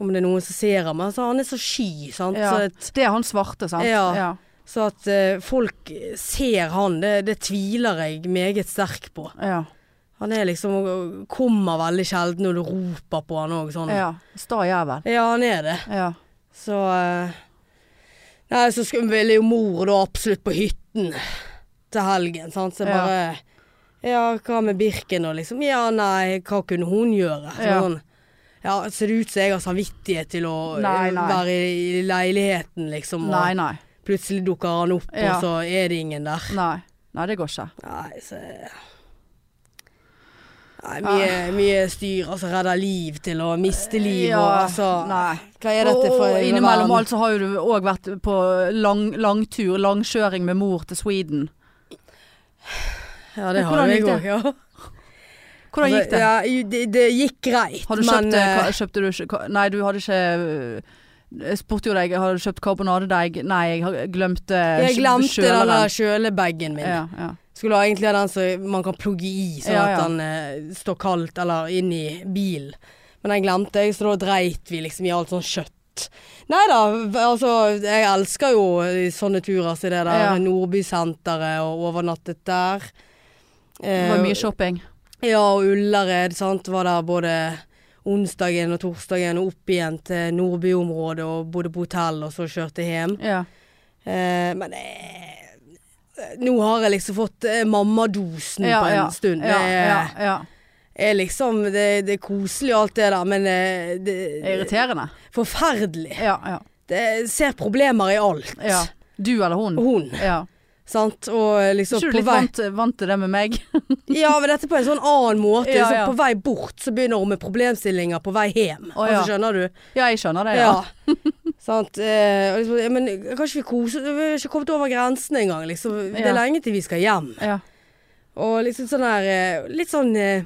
Speaker 2: om det er noen som ser ham. Altså, han er så sky, sant.
Speaker 1: Ja.
Speaker 2: Så, at,
Speaker 1: Det er han svarte, sant?
Speaker 2: Ja. så at eh, folk ser han, det, det tviler jeg meget sterkt på.
Speaker 1: Ja.
Speaker 2: Han er liksom Kommer veldig sjelden når du roper på han òg, sånn.
Speaker 1: ja. Sta jævel.
Speaker 2: Ja, han er det.
Speaker 1: Ja.
Speaker 2: Så eh, Nei, så skulle- ville jo mor da absolutt på hytten til helgen, sant. Så jeg
Speaker 1: Ja.
Speaker 2: bare Ja, hva med Birken og liksom? Ja, nei, hva kunne hun gjøre? Så
Speaker 1: Ja.
Speaker 2: Sånn, ja, ser det ut som jeg har samvittighet til å
Speaker 1: Nei,
Speaker 2: eh,
Speaker 1: nei.
Speaker 2: være i, i leiligheten, liksom? Og
Speaker 1: Nei, nei.
Speaker 2: plutselig dukker han opp,
Speaker 1: Ja.
Speaker 2: og så er det ingen der.
Speaker 1: Nei. Nei, det går ikke.
Speaker 2: Nei, så Nei, mye, mye styr. Altså redde liv til å miste liv og altså
Speaker 1: Nei.
Speaker 2: Hva er dette for
Speaker 1: og
Speaker 2: en
Speaker 1: innimellom
Speaker 2: verden?
Speaker 1: alt så har jo du òg vært på lang, langtur, langkjøring med mor til Sweden.
Speaker 2: Ja, det har
Speaker 1: Hvordan
Speaker 2: jeg
Speaker 1: gikk
Speaker 2: òg. Ja.
Speaker 1: Hvordan gikk det?
Speaker 2: Ja, jo, det, det gikk greit,
Speaker 1: Har du
Speaker 2: men
Speaker 1: kjøpt, eh,
Speaker 2: eh,
Speaker 1: ka- kjøpte du ikke ka- Nei, du hadde ikke Jeg spurte jo deg, har du kjøpt karbonadedeig? Nei, jeg har- glemte
Speaker 2: jeg glemte den der
Speaker 1: kjøleren.
Speaker 2: kjølebagen min.
Speaker 1: Ja, ja.
Speaker 2: Skulle ha egentlig ha den som man kan plugge i, sånn
Speaker 1: Ja, ja.
Speaker 2: at den eh, står kaldt eller inn i bilen. Men den glemte jeg, så da dreit vi liksom i alt sånn kjøtt. Nei da, altså jeg elsker jo eh, sånne turer som det der.
Speaker 1: Ja.
Speaker 2: Nordbysenteret og overnattet der.
Speaker 1: Det
Speaker 2: Eh,
Speaker 1: var mye shopping.
Speaker 2: ja, og Ullared, sant, var der både onsdagen og torsdagen og opp igjen til Nordbyområdet og bodde på hotell og så kjørte hjem.
Speaker 1: Ja.
Speaker 2: Eh, men eh, nå har jeg liksom fått eh, mammadosen
Speaker 1: ja,
Speaker 2: på en
Speaker 1: ja,
Speaker 2: stund.
Speaker 1: Ja,
Speaker 2: det
Speaker 1: ja,
Speaker 2: er,
Speaker 1: ja.
Speaker 2: er liksom det, det er koselig og alt det der, men eh, det,
Speaker 1: Det er irriterende.
Speaker 2: forferdelig.
Speaker 1: Ja, ja.
Speaker 2: Det ser problemer i alt.
Speaker 1: ja. Du eller hun.
Speaker 2: Hun,
Speaker 1: Ja.
Speaker 2: sant. Og liksom
Speaker 1: Ikke du
Speaker 2: Oh. på
Speaker 1: litt
Speaker 2: vei
Speaker 1: vant, vant til det med meg?
Speaker 2: Ja, men dette på en sånn annen måte.
Speaker 1: Ja,
Speaker 2: så
Speaker 1: ja.
Speaker 2: På vei bort så begynner hun med problemstillinger på vei hjem.
Speaker 1: Å,
Speaker 2: altså,
Speaker 1: ja.
Speaker 2: skjønner du?
Speaker 1: Ja, jeg skjønner det. Ja.
Speaker 2: Ja. Sant. Eh, og liksom, ja, men kan ikke vi kose Vi har ikke kommet over grensen engang, liksom. Det
Speaker 1: Ja.
Speaker 2: er lenge til vi skal hjem.
Speaker 1: Ja.
Speaker 2: Og liksom sånn her eh, Litt sånn eh,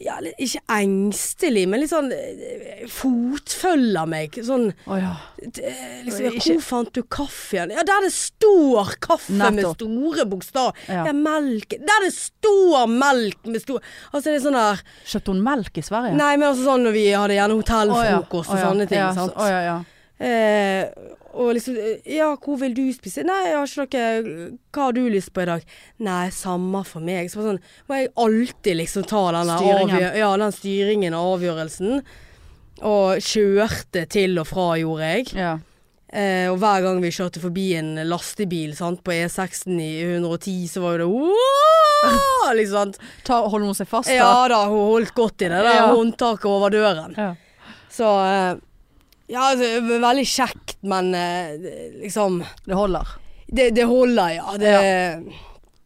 Speaker 2: Ja, litt, ikke engstelig, men litt sånn eh, Fotfølger meg. Sånn
Speaker 1: Å ja.
Speaker 2: eh, liksom, ja,
Speaker 1: Ikke-
Speaker 2: Hvor fant du kaffen? Ja, der det står kaffe med
Speaker 1: Nettopp.
Speaker 2: store bokstav.
Speaker 1: Ja.
Speaker 2: Ja, melk Der det står melk med stor Altså, det er sånn der
Speaker 1: Kjøpte hun melk i Sverige?
Speaker 2: Nei, men altså sånn når vi hadde gjerne
Speaker 1: Å ja,
Speaker 2: hotellfrokost
Speaker 1: å
Speaker 2: og
Speaker 1: ja,
Speaker 2: sånne ting.
Speaker 1: ja,
Speaker 2: sant?
Speaker 1: Å ja, ja.
Speaker 2: Eh, og liksom Ja, hvor vil du spise? Nei, jeg har ikke noe Hva har du lyst på i dag? Nei, samme for meg. Så bare sånn må jeg alltid liksom ta den der
Speaker 1: Styringen.
Speaker 2: avgjø- Ja, den styringen og avgjørelsen. Og kjørte til og fra, gjorde jeg.
Speaker 1: ja.
Speaker 2: Eh, og hver gang vi kjørte forbi en lastebil sant, på E6-en i 110, så var jo det «Wow!» liksom, sant?
Speaker 1: Ta, holder hun seg fast, da?
Speaker 2: Ja da, hun holdt godt i det der
Speaker 1: Ja.
Speaker 2: håndtaket over døren.
Speaker 1: Ja.
Speaker 2: Så eh, Ja, altså, v- veldig kjekt, men eh, det- liksom
Speaker 1: Det holder.
Speaker 2: Det, det holder, ja. Det, ja.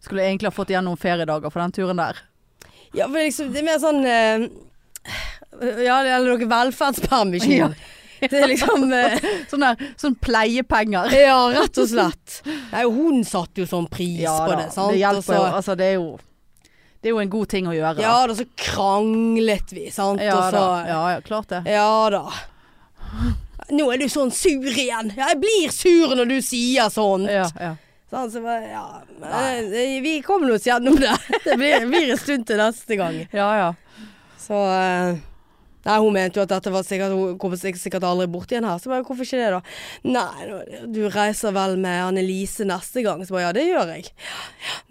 Speaker 1: Skulle egentlig ha fått igjen noen feriedager for den turen der.
Speaker 2: men liksom, det er mer sånn eh, Ja, det gjelder noe velferdspermisjon.
Speaker 1: Ja.
Speaker 2: Det er liksom eh,
Speaker 1: Sånn der, sånn pleiepenger.
Speaker 2: Ja, rett og slett. Nei, hun satte jo sånn pris på det, sant.
Speaker 1: det
Speaker 2: Og
Speaker 1: hjelper
Speaker 2: så-
Speaker 1: jo. Altså, det er jo Det er jo en god ting å gjøre.
Speaker 2: Ja da, så kranglet vi, sant.
Speaker 1: ja,
Speaker 2: og så
Speaker 1: da. ja, ja klart det.
Speaker 2: Ja da. Nå er du sånn sur igjen. Ja, jeg blir sur når du sier sånn.
Speaker 1: Ja, ja.
Speaker 2: Sånn, så bare, ja. men, eh, Vi kommer oss gjennom det. Det blir, blir en stund til neste gang.
Speaker 1: ja, ja.
Speaker 2: Så eh, Nei, hun mente jo at dette var sikkert Hun kommer sik- sikkert aldri bort igjen her. Så bare, hvorfor ikke det, da? Nei, nå- du reiser vel med Annelise neste gang? Så bare, ja, det gjør jeg.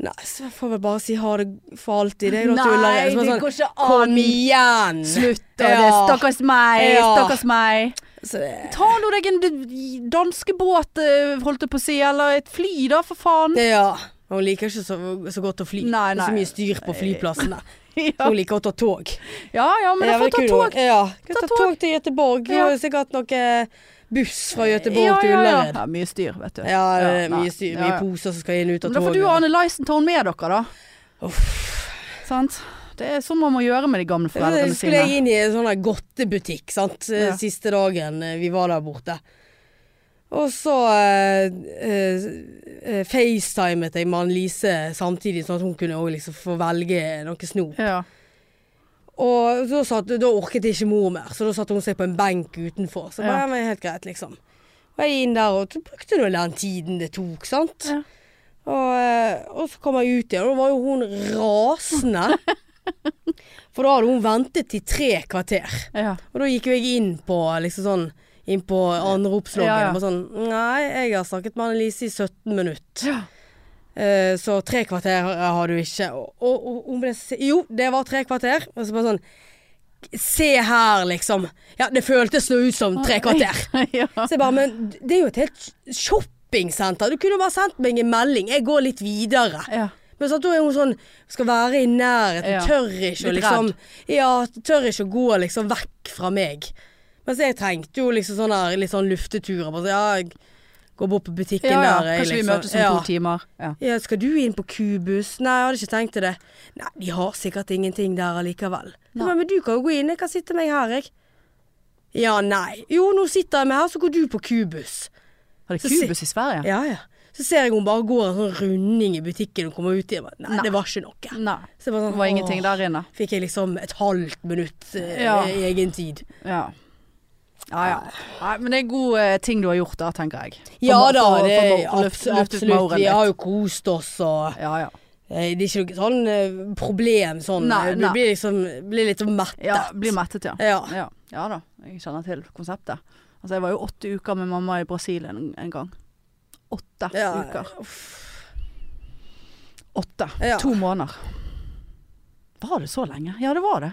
Speaker 2: Nei, så jeg får vel bare si ha det for alltid, jeg, da, tuller jeg. Så bare sånn,
Speaker 1: ikke
Speaker 2: Kom igjen!
Speaker 1: Slutt, og
Speaker 2: Ja.
Speaker 1: det er stakkars meg,
Speaker 2: Ja.
Speaker 1: stakkars meg.
Speaker 2: Så det-
Speaker 1: Ta nå deg en d- danskebåt, eh, holdt jeg på å si, eller et fly da, for faen.
Speaker 2: Ja. men Hun liker ikke så, så godt å fly.
Speaker 1: Nei,
Speaker 2: Det er så
Speaker 1: nei.
Speaker 2: mye styr på flyplassene.
Speaker 1: Ja,
Speaker 2: Hun liker å ta tog.
Speaker 1: ja, ja men jeg får ta tog.
Speaker 2: Ja, kan
Speaker 1: Ta
Speaker 2: ta
Speaker 1: tog.
Speaker 2: tog til Göteborg. Hun
Speaker 1: Ja.
Speaker 2: har jo sikkert noe buss fra Göteborg
Speaker 1: ja,
Speaker 2: til
Speaker 1: ja, ja.
Speaker 2: Ullared.
Speaker 1: Ja, mye styr, vet du.
Speaker 2: Ja, det er
Speaker 1: nei.
Speaker 2: mye styr. Mye
Speaker 1: Ja, ja.
Speaker 2: poser som skal inn og ut av
Speaker 1: Men Da får
Speaker 2: toget.
Speaker 1: du og Anne Leisen ta henne med dere, da.
Speaker 2: Uff.
Speaker 1: Sant? Det er sånn man må gjøre med de gamle
Speaker 2: skulle
Speaker 1: foreldrene sine.
Speaker 2: jeg inn i en sånn der godtebutikk, sant.
Speaker 1: Ja.
Speaker 2: Siste dagen eh, vi var der borte. Og så eh, eh, eh, facetimet jeg med Annelise samtidig, sånn at hun kunne også liksom få velge noe snop.
Speaker 1: Ja.
Speaker 2: Og da, satt, da orket ikke mor mer, så da satte hun seg på en benk utenfor. Så bare,
Speaker 1: Ja.
Speaker 2: ja. men helt greit, liksom. Og jeg inn der, og så brukte nå den tiden det tok, sant.
Speaker 1: Ja.
Speaker 2: Og, eh, og så kom jeg ut igjen, og da var jo hun rasende. For da hadde hun ventet i tre kvarter.
Speaker 1: Ja.
Speaker 2: Og da gikk jo jeg inn på liksom sånn inn på anropsloggen
Speaker 1: Ja, ja.
Speaker 2: og bare sånn Nei, jeg har snakket med Annelise i 17 minutter.
Speaker 1: Ja.
Speaker 2: Eh, så tre kvarter har har du ikke. Og, og, og hun ble se- Jo, det var tre kvarter. Og så bare sånn Se her, liksom. Ja, det føltes nå ut som tre kvarter.
Speaker 1: ja.
Speaker 2: Så jeg bare Men det er jo et helt shoppingsenter. Du kunne bare sendt meg en melding. Jeg går litt videre.
Speaker 1: ja.
Speaker 2: Men så da er hun sånn Skal være i nærheten.
Speaker 1: Ja.
Speaker 2: Tør ikke å
Speaker 1: Litt
Speaker 2: liksom Ja, tør ikke å gå liksom vekk fra meg. Mens jeg trengte jo liksom sånn her litt sånn lufteturer. Bare så, ja, jeg går bort på butikken
Speaker 1: ja, ja.
Speaker 2: der. jeg
Speaker 1: Kanskje vi
Speaker 2: liksom-
Speaker 1: møtes om
Speaker 2: ja.
Speaker 1: to timer. Ja.
Speaker 2: Ja, skal du inn på kubus? Nei, jeg hadde ikke tenkt til det. Nei, de har sikkert ingenting der allikevel. Jeg bare, men du kan jo gå inn, jeg kan sitte meg her, jeg. Ja, nei. Jo, nå sitter jeg meg her, så går du på kubus.
Speaker 1: Har det
Speaker 2: Så si-
Speaker 1: kubus i Sverige?
Speaker 2: Ja, ja. Så ser jeg hun bare går en sånn runding i butikken og kommer ut igjen. Jeg bare, Nei,
Speaker 1: Nei.
Speaker 2: det var ikke noe.
Speaker 1: Nei.
Speaker 2: Så jeg bare
Speaker 1: Det
Speaker 2: sånn,
Speaker 1: var ingenting
Speaker 2: åh.
Speaker 1: der inne.
Speaker 2: Fikk jeg liksom et halvt minutt eh,
Speaker 1: Ja.
Speaker 2: egen tid.
Speaker 1: Ja. Ja, ja. Nei, men det er gode eh, ting du har gjort da, tenker jeg. For
Speaker 2: Ja
Speaker 1: ma-
Speaker 2: da,
Speaker 1: for-
Speaker 2: det
Speaker 1: for
Speaker 2: er
Speaker 1: ma- for luft-
Speaker 2: abs-
Speaker 1: luft ut
Speaker 2: absolutt.
Speaker 1: mauren
Speaker 2: Vi
Speaker 1: litt.
Speaker 2: har jo kost oss og
Speaker 1: Ja, ja.
Speaker 2: Eh, Det er ikke noe sånn eh, problem sånn.
Speaker 1: Nei,
Speaker 2: Eh, Du
Speaker 1: nei.
Speaker 2: blir liksom blir litt sånn mettet.
Speaker 1: ja blir mettet, ja.
Speaker 2: Ja.
Speaker 1: ja. Ja da, jeg kjenner til konseptet. Altså, jeg var jo åtte uker med mamma i Brasil en, en gang. Åtte
Speaker 2: Ja,
Speaker 1: uker.
Speaker 2: uff.
Speaker 1: Åtte.
Speaker 2: Ja.
Speaker 1: To måneder. Var det så lenge? Ja, det var det.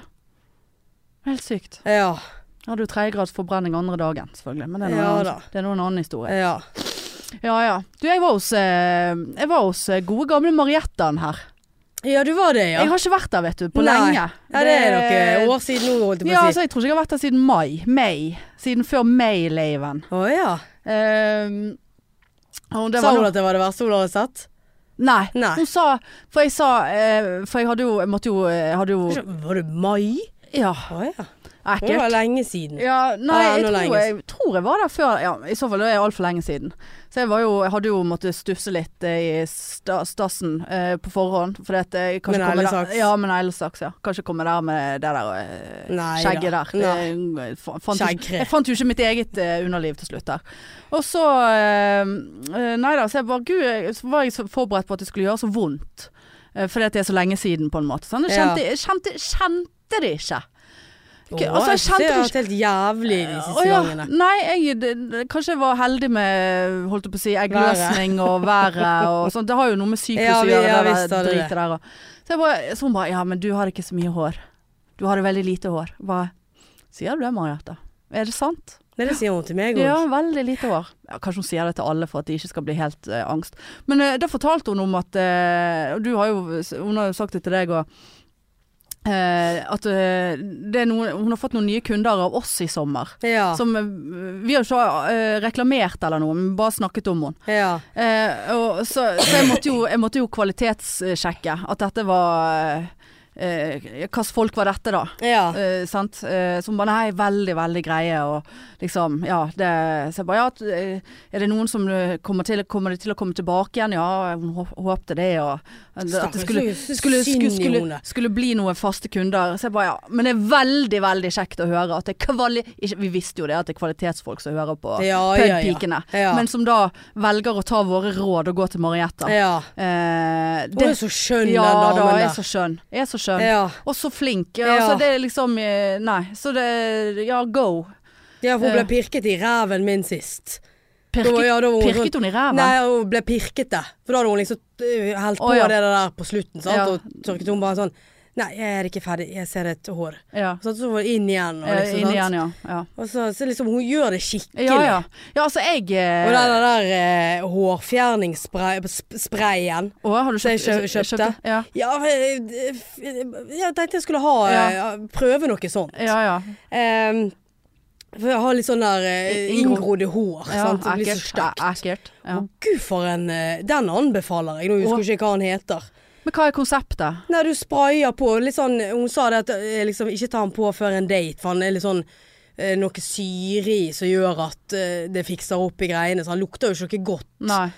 Speaker 1: Helt sykt.
Speaker 2: Ja.
Speaker 1: Jeg hadde jo tredjegrads forbrenning andre dagen, selvfølgelig. Men det er noen,
Speaker 2: Ja, da.
Speaker 1: annen, det er noen annen historie.
Speaker 2: ja.
Speaker 1: Ja ja. Du, jeg var hos, eh, jeg var hos eh, gode gamle Mariettan her.
Speaker 2: Ja, du var det, ja.
Speaker 1: Jeg har ikke vært der, vet du, på
Speaker 2: Nei.
Speaker 1: lenge.
Speaker 2: ja det er noen år siden nå, holdt jeg på
Speaker 1: Ja,
Speaker 2: å si.
Speaker 1: altså, jeg tror ikke jeg har vært der siden mai. May. Siden før May-laven.
Speaker 2: Å ja.
Speaker 1: Ehm, og det
Speaker 2: Sa
Speaker 1: var
Speaker 2: hun
Speaker 1: noe-
Speaker 2: at det var det verste hun hadde sett?
Speaker 1: Nei.
Speaker 2: Nei.
Speaker 1: Hun sa For jeg sa eh, For jeg hadde jo Jeg måtte jo Jeg hadde jo
Speaker 2: Var det mai?
Speaker 1: Ja,
Speaker 2: Å ja. Det var
Speaker 1: ekkelt.
Speaker 2: lenge siden.
Speaker 1: Ja, nei,
Speaker 2: Ja,
Speaker 1: jeg
Speaker 2: enda
Speaker 1: tror
Speaker 2: lenger.
Speaker 1: jeg, tror jeg var der før Ja, i så fall det er altfor lenge siden. Så jeg var jo Jeg hadde jo måttet stusse litt eh, i sta, stassen eh, på forhånd. Fordi at jeg kanskje
Speaker 2: Med
Speaker 1: kommer der-
Speaker 2: neglesaks.
Speaker 1: Ja, med neglesaks. Ja. Kanskje komme der med det der eh,
Speaker 2: Nei
Speaker 1: skjegget der.
Speaker 2: Nei.
Speaker 1: Det- jeg fa- fant jo ikke-
Speaker 2: Skjeggkre.
Speaker 1: Jeg fant jo ikke mitt eget eh, underliv til slutt der. Og så eh, eh, Nei da, så jeg bare Gud, jeg, så var jeg så forberedt på at det skulle gjøre så vondt. Eh, fordi at det er så lenge siden, på en måte. Sånn, jeg
Speaker 2: Ja.
Speaker 1: kjente, jeg kjente, kjente det ikke.
Speaker 2: Å,
Speaker 1: altså, jeg kjente
Speaker 2: det har
Speaker 1: ikke-
Speaker 2: vært helt jævlig de siste
Speaker 1: Å ja,
Speaker 2: gangene.
Speaker 1: Nei, jeg det- det- kanskje jeg var heldig med holdt jeg på å si, eggløsning og været og sånt. Det har jo noe med syklus
Speaker 2: Ja,
Speaker 1: å
Speaker 2: vi-
Speaker 1: gjøre,
Speaker 2: ja,
Speaker 1: det
Speaker 2: visst
Speaker 1: der
Speaker 2: har det
Speaker 1: dritet
Speaker 2: det.
Speaker 1: der. Og. Så jeg bare, så hun bare Ja, men du hadde ikke så mye hår. Du hadde veldig lite hår. Jeg Bare, Sier du det, Mariette? Er det sant?
Speaker 2: Nei, det sier hun til meg òg.
Speaker 1: Ja, veldig lite hår. Ja, kanskje hun sier det til alle for at de ikke skal bli helt eh, angst. Men eh, da fortalte hun om at eh, Og du har jo, hun har jo sagt det til deg òg. at eh, det er noen, hun har fått noen nye kunder av oss i sommer.
Speaker 2: Ja.
Speaker 1: Som, eh, vi har jo ikke eh, reklamert eller noe, men bare snakket om henne.
Speaker 2: ja.
Speaker 1: Eh, og, så så jeg, måtte jo, jeg måtte jo kvalitetssjekke at dette var eh, Hvilke folk var dette, da?
Speaker 2: Ja.
Speaker 1: Eh, sant? Eh, som bare nei, veldig, veldig greie og liksom Ja, det Så jeg bare ja, t- eh, er det noen som eh, kommer til, kommer de til å komme tilbake igjen? Ja, hun hå- håpte det og At det skulle, skulle, skulle, skulle, skulle bli noen faste kunder. Så jeg bare ja. Men det er veldig, veldig kjekt å høre at det er kvali... Ikke, vi visste jo det at det er kvalitetsfolk som hører på
Speaker 2: ja, ja, ja.
Speaker 1: pubpikene.
Speaker 2: ja.
Speaker 1: Men som da velger å ta våre råd og gå til Marietta.
Speaker 2: ja.
Speaker 1: Eh,
Speaker 2: Hun
Speaker 1: det,
Speaker 2: er så skjønn,
Speaker 1: ja
Speaker 2: den
Speaker 1: da,
Speaker 2: damen
Speaker 1: jeg er
Speaker 2: der.
Speaker 1: så skjønn. Jeg er så skjønn.
Speaker 2: Ja.
Speaker 1: Og så flink.
Speaker 2: Ja.
Speaker 1: Altså, det er liksom eh, Nei. Så det Ja, go.
Speaker 2: ja, for hun
Speaker 1: Eh.
Speaker 2: ble pirket i ræven min sist. Da var-
Speaker 1: Pirket,
Speaker 2: ja, da var hun rundt-
Speaker 1: pirket hun i ræven?
Speaker 2: Nei, hun ble pirket det. For da hadde hun liksom øh, holdt på
Speaker 1: Å, ja.
Speaker 2: det der på slutten, sant.
Speaker 1: Ja.
Speaker 2: Og tørket hun bare sånn Nei, jeg er ikke ferdig, jeg ser et hår.
Speaker 1: Ja.
Speaker 2: Så så var hun inn igjen. Og,
Speaker 1: Eh,
Speaker 2: liksom,
Speaker 1: Inn
Speaker 2: sant?
Speaker 1: igjen, ja. Ja,
Speaker 2: og så, så liksom hun gjør det skikkelig.
Speaker 1: ja. ja. ja altså, jeg eh,
Speaker 2: Og den der eh, hårfjerningssprayen.
Speaker 1: Å, har du
Speaker 2: Så jeg
Speaker 1: kjøpt,
Speaker 2: kjø- kjøpte?
Speaker 1: kjøpte? Ja.
Speaker 2: Ja, eh, f- jeg tenkte jeg skulle ha eh, prøve noe sånt.
Speaker 1: Ja ja.
Speaker 2: Ehm, for jeg har litt sånn der eh,
Speaker 1: I- inngrodde-
Speaker 2: inngrodde hår.
Speaker 1: ja
Speaker 2: sant? Det blir så
Speaker 1: ekkelt.
Speaker 2: stygt.
Speaker 1: Eh, ekkelt. Ja.
Speaker 2: Å, Gud, for en eh, Den anbefaler jeg. Nå husker jeg ikke hva han heter.
Speaker 1: Men hva er konseptet?
Speaker 2: Nei, du sprayer på litt sånn Hun sa det at eh, liksom, ikke ta den på før en date, for han er litt sånn eh, noe syre i som gjør at eh, det fikser opp i greiene. Så han lukter jo ikke godt.
Speaker 1: Nei.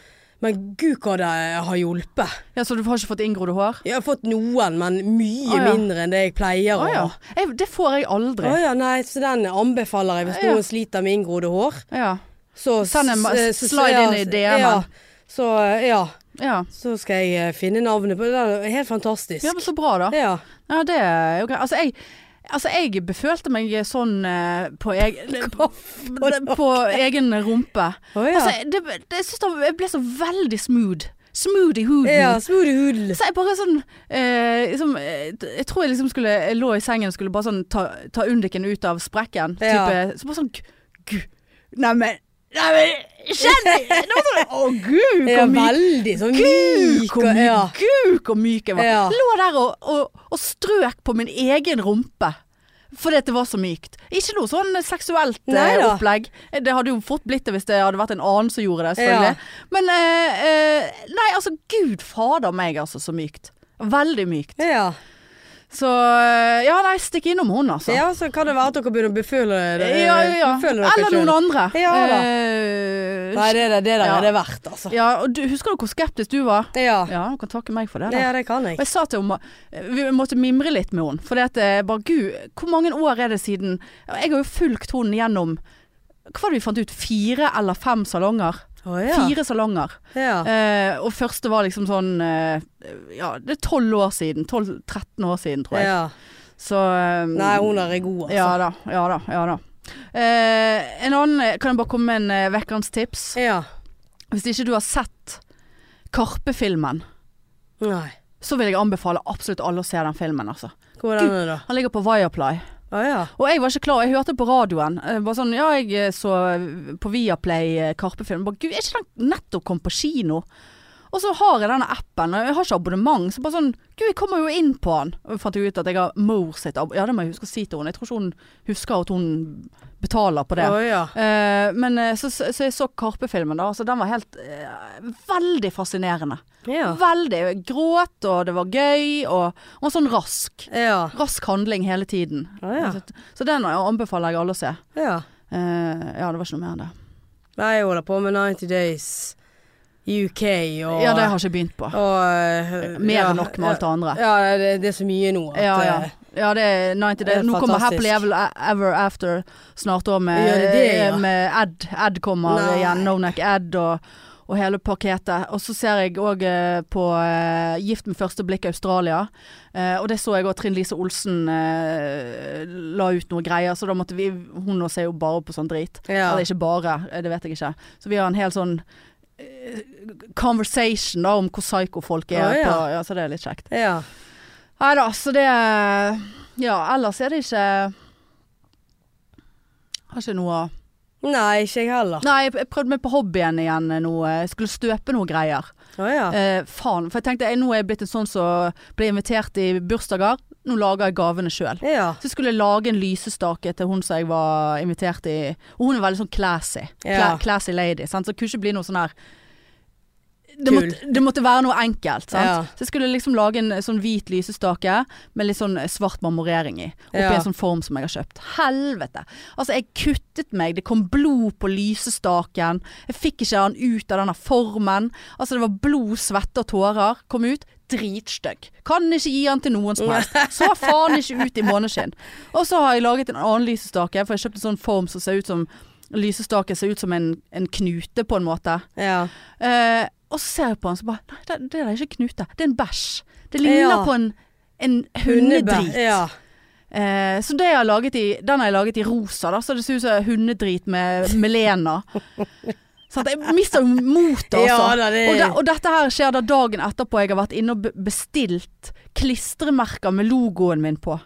Speaker 2: Men gud, hva det har hjulpet.
Speaker 1: Ja, Så du har ikke fått inngrodde hår?
Speaker 2: Jeg har fått noen, men mye
Speaker 1: Å, ja.
Speaker 2: mindre enn det jeg pleier
Speaker 1: Å
Speaker 2: å ha.
Speaker 1: ja. Jeg, det får jeg aldri.
Speaker 2: Å ja, nei, så den anbefaler jeg hvis
Speaker 1: Ja.
Speaker 2: noen sliter med inngrodde hår.
Speaker 1: Ja.
Speaker 2: Så
Speaker 1: Send en ma-
Speaker 2: s- eh, så-
Speaker 1: slide
Speaker 2: ja,
Speaker 1: inn i DM-en.
Speaker 2: Ja, så eh, ja.
Speaker 1: ja.
Speaker 2: Så skal jeg eh, finne navnet på det. Den er helt fantastisk.
Speaker 1: Ja, men så bra, da.
Speaker 2: Ja.
Speaker 1: Ja, det er jo greit. Altså, jeg Altså, jeg befølte meg sånn eh, på, egen, på, på egen rumpe.
Speaker 2: Å ja.
Speaker 1: Altså, det, det, jeg synes det jeg ble så veldig smooth. Smooth i huden.
Speaker 2: ja, smoothie hoodle.
Speaker 1: Så jeg bare sånn eh, liksom, eh, Jeg tror jeg liksom skulle Jeg lå i sengen og skulle bare sånn ta, ta undiken ut av sprekken.
Speaker 2: Ja.
Speaker 1: Type, så bare sånn Gud. Neimen Neimen, kjenn Det var sånn Å, gud,
Speaker 2: Ja,
Speaker 1: hvor myk
Speaker 2: veldig sånn
Speaker 1: Gud,
Speaker 2: myk.
Speaker 1: hvor
Speaker 2: og-
Speaker 1: myk,
Speaker 2: ja.
Speaker 1: gud, hvor myk jeg var.
Speaker 2: Ja.
Speaker 1: Lå der og, og, og strøk på min egen rumpe. Fordi at det var så mykt. Ikke noe sånn seksuelt eh,
Speaker 2: Neida.
Speaker 1: opplegg. Det hadde jo fort blitt det hvis det hadde vært en annen som gjorde det, selvfølgelig. Men eh, eh, Nei, altså, gud fader meg, altså, så mykt. Veldig mykt.
Speaker 2: Ja.
Speaker 1: Så eh, ja, nei, stikk innom hun, altså.
Speaker 2: ja, så kan det være at dere begynner å beføle
Speaker 1: ja,
Speaker 2: dere
Speaker 1: ja, ja.
Speaker 2: beføle dere
Speaker 1: Eller noen
Speaker 2: selv.
Speaker 1: andre.
Speaker 2: Ja, da.
Speaker 1: Eh,
Speaker 2: Nei, det, det, det der
Speaker 1: Ja.
Speaker 2: er det verdt, altså.
Speaker 1: ja, og du, husker du hvor skeptisk du var?
Speaker 2: Ja.
Speaker 1: Ja, du kan takke meg for det. Da.
Speaker 2: ja, det kan
Speaker 1: Og
Speaker 2: jeg.
Speaker 1: jeg sa til henne, Vi måtte mimre litt med henne. For det at eh, bare gud, hvor mange år er det siden Jeg har jo fulgt henne gjennom Hva var det vi fant ut? Fire eller fem salonger?
Speaker 2: Å ja. Ah.
Speaker 1: Fire salonger.
Speaker 2: ja.
Speaker 1: Eh, og første var liksom sånn eh, Ja, det er tolv år siden. 12, 13 år siden, tror jeg.
Speaker 2: ja.
Speaker 1: Så eh,
Speaker 2: Nei, hun der er god, altså.
Speaker 1: Ja da. Ja da. Ja da. Eh, en annen Kan jeg bare komme med en eh, vekkerens tips?
Speaker 2: Ja.
Speaker 1: Hvis ikke du har sett Karpe-filmen,
Speaker 2: Nei.
Speaker 1: så vil jeg anbefale absolutt alle å se den filmen, altså.
Speaker 2: Hvor er den, da?
Speaker 1: Han ligger på Viaplay.
Speaker 2: Å ja.
Speaker 1: Og jeg var ikke klar, jeg hørte på radioen. eh, Bare sånn, ja, jeg eh, så på Viaplay eh, Karpe-film. Bare, Gud, er ikke den nettopp kom på kino? Og så har jeg denne appen, og jeg har ikke abonnement, så bare sånn Gud, jeg kommer jo inn på den. Og jeg fant jo ut at jeg har mor sitt abonnement. Ja, det må jeg huske å si til henne. Jeg tror ikke hun husker at hun betaler på det.
Speaker 2: Å ja.
Speaker 1: Eh, men eh, så, så, så jeg så Karpe-filmen, da. Så den var helt eh, Veldig fascinerende.
Speaker 2: Ja.
Speaker 1: Veldig. Jeg Gråt, og det var gøy, og, og sånn rask
Speaker 2: Ja.
Speaker 1: rask handling hele tiden.
Speaker 2: Å, ja.
Speaker 1: så, så den anbefaler jeg alle å se.
Speaker 2: ja.
Speaker 1: Eh, ja, det var ikke noe mer enn det.
Speaker 2: Nei, jeg holder på med 90 Days UK og
Speaker 1: ja, det har jeg ikke begynt på.
Speaker 2: og, eh,
Speaker 1: Mer
Speaker 2: ja,
Speaker 1: enn nok med alt det andre.
Speaker 2: Ja, ja, det, det er så mye nå at
Speaker 1: Ja, ja.
Speaker 2: eh,
Speaker 1: ja det er 90
Speaker 2: det er
Speaker 1: Days. Nå kommer
Speaker 2: fantastisk.
Speaker 1: Happily Ever, Ever After snart òg, med, eh,
Speaker 2: Ja, det er det, ja.
Speaker 1: med Ed. Ed kommer
Speaker 2: Nei.
Speaker 1: igjen. Nonac Ed og, og hele paketet. Og så ser jeg òg på eh, Gift med første blikk Australia. Eh, og det så jeg òg. Trine Lise Olsen eh, la ut noe greier, så da måtte vi Hun nå ser jo bare på sånn drit.
Speaker 2: ja.
Speaker 1: Eller ikke bare, eh, det vet jeg ikke. Så vi har en hel sånn eh, conversation da, om hvor psyko folk er.
Speaker 2: Å, ja.
Speaker 1: På, ja, så det er litt kjekt.
Speaker 2: ja.
Speaker 1: Nei da, så det Ja, ellers er det ikke Har ikke noe å-
Speaker 2: Nei, ikke jeg heller.
Speaker 1: Nei, jeg jeg prøvde meg på hobbyen igjen eh, nå. eh, Jeg skulle støpe noe greier.
Speaker 2: Å ja.
Speaker 1: Eh, faen. For jeg tenkte jeg, nå er jeg blitt en sånn som blir invitert i bursdager. Nå lager jeg gavene sjøl.
Speaker 2: Ja.
Speaker 1: Så jeg skulle lage en lysestake til hun som jeg var invitert i. Og hun er veldig sånn classy. Cla
Speaker 2: Ja.
Speaker 1: Classy lady. Sant? Så det kunne ikke bli noe sånn her det, måtte, det måtte være noe enkelt. Sant?
Speaker 2: Ja.
Speaker 1: Så jeg skulle liksom lage en sånn hvit lysestake med litt sånn svart marmorering i. Oppi
Speaker 2: Ja.
Speaker 1: en sånn form som jeg har kjøpt. Helvete. Altså, jeg kuttet meg. Det kom blod på lysestaken. Jeg fikk ikke han ut av denne formen. Altså, det var blod, svette og tårer. Kom ut. Dritstygg. Kan ikke gi han til noen som helst. Så faen ikke ut i måneskinn. Og så har jeg laget en annen lysestake, for jeg kjøpte en sånn form som ser ut som Lysestake ser ut som en, en knute, på en måte.
Speaker 2: Ja.
Speaker 1: Eh, og så ser jeg på han så bare Nei, det, det er ikke knute. Det er en bæsj. Det ligner
Speaker 2: Ja.
Speaker 1: på en, en hundedrit.
Speaker 2: Hundebæ- Ja.
Speaker 1: Eh, så det jeg har laget i, den har jeg laget i rosa, da, så det ser ut som hundedrit med melena. Sånn, jeg mister jo motet,
Speaker 2: Ja,
Speaker 1: altså.
Speaker 2: da, det-
Speaker 1: og, de, og dette her skjer da dagen etterpå jeg har vært inne og be- bestilt klistremerker med logoen min på.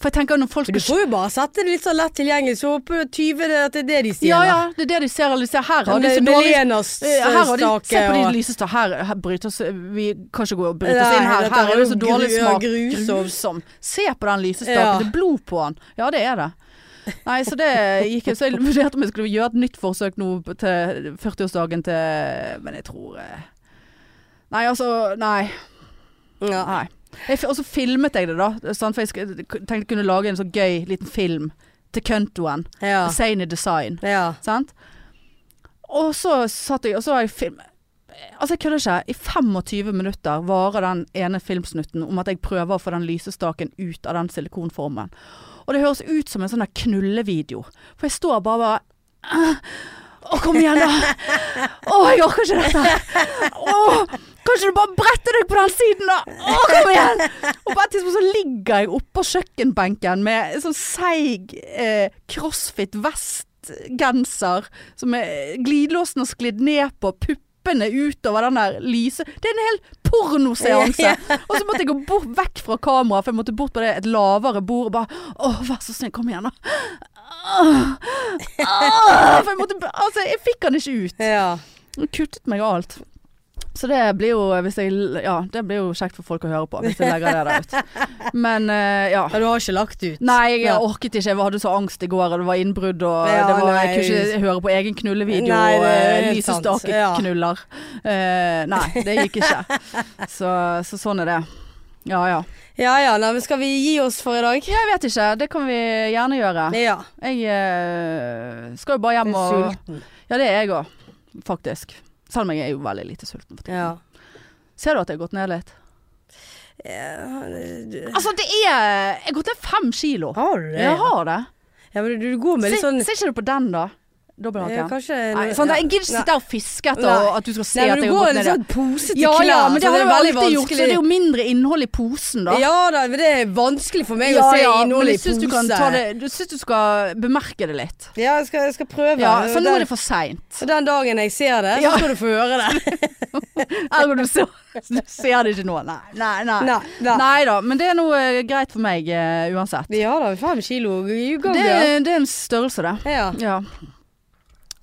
Speaker 1: For jeg tenker når folk
Speaker 2: Men Du
Speaker 1: skal
Speaker 2: får jo bare sette det litt så lett tilgjengelig, så håper du tyver det at det er det de stjeler.
Speaker 1: Ja, ja, det er det de ser. Eller de ser her har de så dårlig
Speaker 2: Melenas
Speaker 1: Eh, Her har de, se på de
Speaker 2: og
Speaker 1: lyseste her, her bryter oss, Vi kan ikke gå og bryte oss
Speaker 2: Nei,
Speaker 1: inn her.
Speaker 2: dette
Speaker 1: Her er
Speaker 2: er
Speaker 1: det så
Speaker 2: jo
Speaker 1: dårlig
Speaker 2: gru-
Speaker 1: smak.
Speaker 2: grusomt.
Speaker 1: Grusom. Se på den lysestaken.
Speaker 2: Ja.
Speaker 1: Det er blod på den. Ja, det er det. Nei, så det gikk Så jeg vurderte om jeg skulle gjøre et nytt forsøk nå på- til 40-årsdagen til Men jeg tror eh, Nei, altså Nei.
Speaker 2: ja.
Speaker 1: nei. Jeg, fi- og så filmet jeg det, da. sant, For jeg sk- tenkte jeg kunne lage en så gøy liten film til Køntoen.
Speaker 2: Ja.
Speaker 1: Sane Design.
Speaker 2: ja.
Speaker 1: Sant? Og så satt jeg, og så har jeg film... Altså, jeg kødder ikke. I 25 minutter varer den ene filmsnutten om at jeg prøver å få den lysestaken ut av den silikonformen. Og det høres ut som en sånn der knullevideo. For jeg står bare bare Å, kom igjen, da! Å, jeg orker ikke dette! Å, kan ikke du bare brette deg på den siden, da? Å, kom igjen! Og på et tidspunkt så ligger jeg oppå kjøkkenbenken med en sånn seig eh, crossfit-vest-genser som er glidelåsen har sklidd ned på, puppene utover den der lyse Det er en hel pornoseanse! Og så måtte jeg gå bort, vekk fra kameraet, for jeg måtte bort på det, et lavere bord og bare Å, vær så snill, kom igjen, da. Åh, åh, for jeg måtte Altså, jeg fikk han ikke ut.
Speaker 2: ja.
Speaker 1: Hun kuttet meg og alt. Så det blir jo, hvis jeg, ja, det blir jo kjekt for folk å høre på, hvis jeg legger det der ut. Men eh, ja.
Speaker 2: Ja, Du har ikke lagt ut?
Speaker 1: Nei, jeg
Speaker 2: Ja.
Speaker 1: orket ikke. Jeg hadde så angst i går, og det var innbrudd, og
Speaker 2: Ja,
Speaker 1: det var,
Speaker 2: nei.
Speaker 1: jeg kunne ikke høre på egen knullevideo
Speaker 2: Nei, det
Speaker 1: og
Speaker 2: er
Speaker 1: eh,
Speaker 2: helt sant.
Speaker 1: lysestakeknuller. Eh, nei, det gikk ikke. Så, så sånn er det. Ja ja.
Speaker 2: Ja ja, nei, men skal vi gi oss for i dag?
Speaker 1: Jeg vet ikke. Det kan vi gjerne gjøre.
Speaker 2: Ja.
Speaker 1: Jeg eh, skal jo bare hjem og
Speaker 2: Sulten.
Speaker 1: Ja, det er jeg òg, faktisk. Selv om jeg er jo veldig lite sulten for tiden.
Speaker 2: Ja.
Speaker 1: Ser du at jeg har gått ned litt?
Speaker 2: Eh,
Speaker 1: Altså, det er Jeg har gått ned fem kilo.
Speaker 2: Har du det?
Speaker 1: Jeg har det.
Speaker 2: Ja, men du, du går med
Speaker 1: Se,
Speaker 2: litt sånn
Speaker 1: ser ikke du på den, da?
Speaker 2: ja,
Speaker 1: Dobbelthaken.
Speaker 2: Kanskje
Speaker 1: Nei, sånn, sant, jeg gidder ikke sitte der og fiske etter
Speaker 2: Nei.
Speaker 1: og at du skal se
Speaker 2: Nei,
Speaker 1: at
Speaker 2: men
Speaker 1: jeg
Speaker 2: du går
Speaker 1: har
Speaker 2: litt
Speaker 1: gått ned.
Speaker 2: sånn posete
Speaker 1: Ja
Speaker 2: klær.
Speaker 1: ja, men det
Speaker 2: så
Speaker 1: har
Speaker 2: er
Speaker 1: jeg
Speaker 2: veldig
Speaker 1: alltid gjort, så
Speaker 2: vanskelig.
Speaker 1: det er jo mindre innhold i posen, da.
Speaker 2: Ja da, men det er vanskelig for meg å se
Speaker 1: men
Speaker 2: innholdet i
Speaker 1: jeg syns du, kan ta
Speaker 2: pose.
Speaker 1: det- du syns du skal bemerke det litt.
Speaker 2: Ja, jeg skal, jeg skal prøve.
Speaker 1: Ja, for
Speaker 2: Og
Speaker 1: nå
Speaker 2: den,
Speaker 1: er det for seint.
Speaker 2: og den dagen jeg ser det,
Speaker 1: Ja.
Speaker 2: så skal du få høre det.
Speaker 1: Ergo du, ser- du ser det ikke nå. Nei, nei. nei.
Speaker 2: Nei, nei.
Speaker 1: Nei da, men det er noe eh, greit for meg eh, uansett.
Speaker 2: Ja da, fem kilo. You go,
Speaker 1: Det,
Speaker 2: girl.
Speaker 1: det er en størrelse, det.
Speaker 2: Ja.
Speaker 1: Ja.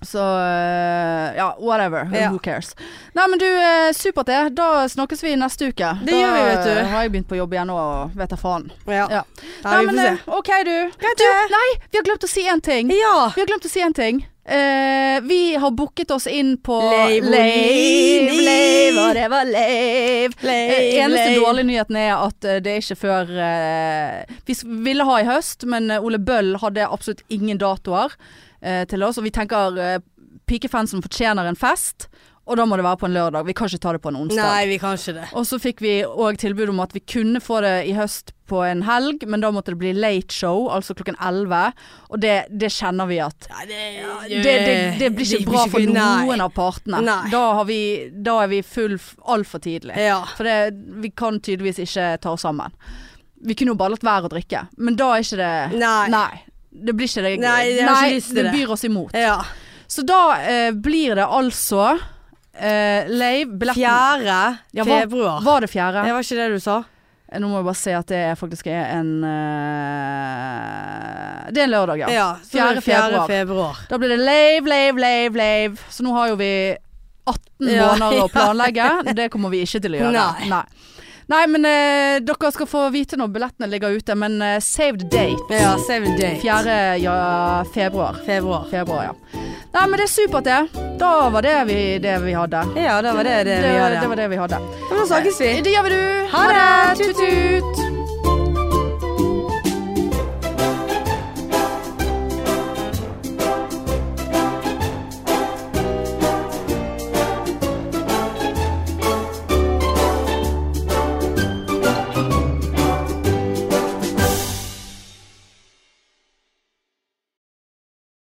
Speaker 1: Så eh, ja, whatever.
Speaker 2: Ja.
Speaker 1: Who cares. Nei, men du, eh, supert det. Da snakkes vi neste uke.
Speaker 2: Det
Speaker 1: da
Speaker 2: gjør vi, vet du.
Speaker 1: eh, har jeg begynt på jobb igjen og vet da faen.
Speaker 2: Ja.
Speaker 1: Ja.
Speaker 2: Nei, vi
Speaker 1: men
Speaker 2: får se.
Speaker 1: eh, OK, du.
Speaker 2: Greit,
Speaker 1: du.
Speaker 2: det.
Speaker 1: Nei, vi har glemt å si én ting.
Speaker 2: Ja.
Speaker 1: Vi har glemt å si en ting. Eh, vi har booket oss inn på
Speaker 2: Leiv og
Speaker 1: Leiv,
Speaker 2: Liv.
Speaker 1: Leiv, og det var Leiv. Eh, Eneste
Speaker 2: Leiv.
Speaker 1: dårlige nyheten er at eh, det er ikke før eh, Vi s- ville ha i høst, men eh, Ole Bøll hadde absolutt ingen datoer eh, til oss. Og vi tenker eh, pikefansen fortjener en fest, og da må det være på en lørdag. Vi kan ikke ta det på en onsdag.
Speaker 2: Nei, vi kan ikke det.
Speaker 1: Og så fikk vi òg tilbud om at vi kunne få det i høst på en helg, men da måtte det bli late show, altså klokken 11. Og det, det kjenner vi at
Speaker 2: Nei, det,
Speaker 1: det, det, det Eh, blir ikke bra for noen av partene.
Speaker 2: Nei.
Speaker 1: Da, har vi, da er vi full altfor tidlig.
Speaker 2: Ja.
Speaker 1: For det, vi kan tydeligvis ikke ta oss sammen. Vi kunne jo bare latt være å drikke, men da er ikke det
Speaker 2: Nei.
Speaker 1: Det blir ikke det
Speaker 2: Nei, jeg har ikke lyst til
Speaker 1: det
Speaker 2: det.
Speaker 1: byr oss imot.
Speaker 2: Ja.
Speaker 1: Så da eh, blir det altså eh, Leiv, billetten
Speaker 2: 4.
Speaker 1: Ja, hva-
Speaker 2: februar.
Speaker 1: Var det fjerde?
Speaker 2: Det var ikke det du sa?
Speaker 1: Eh, Nå må jeg bare se at det er faktisk er en eh, Det er en lørdag, ja.
Speaker 2: Ja. så det er
Speaker 1: 4. februar.
Speaker 2: februar.
Speaker 1: Da blir det lave, lave, lave, lave. Så nå har jo vi 18
Speaker 2: Ja,
Speaker 1: måneder å
Speaker 2: ja.
Speaker 1: planlegge. Det kommer vi ikke til å gjøre.
Speaker 2: Nei.
Speaker 1: Nei. Nei, men eh, dere skal få vite når billettene ligger ute, men eh, save the date.
Speaker 2: Ja, save the day.
Speaker 1: 4. Ja, februar.
Speaker 2: Februar.
Speaker 1: Februar, ja. Nei, men det er supert, det. Da var det vi, det vi hadde.
Speaker 2: Ja, da var det det, vi
Speaker 1: det,
Speaker 2: gjorde.
Speaker 1: det var det vi hadde.
Speaker 2: Ja, men da snakkes vi.
Speaker 1: Det gjør vi, du.
Speaker 2: Ha det.
Speaker 1: Tut-tut.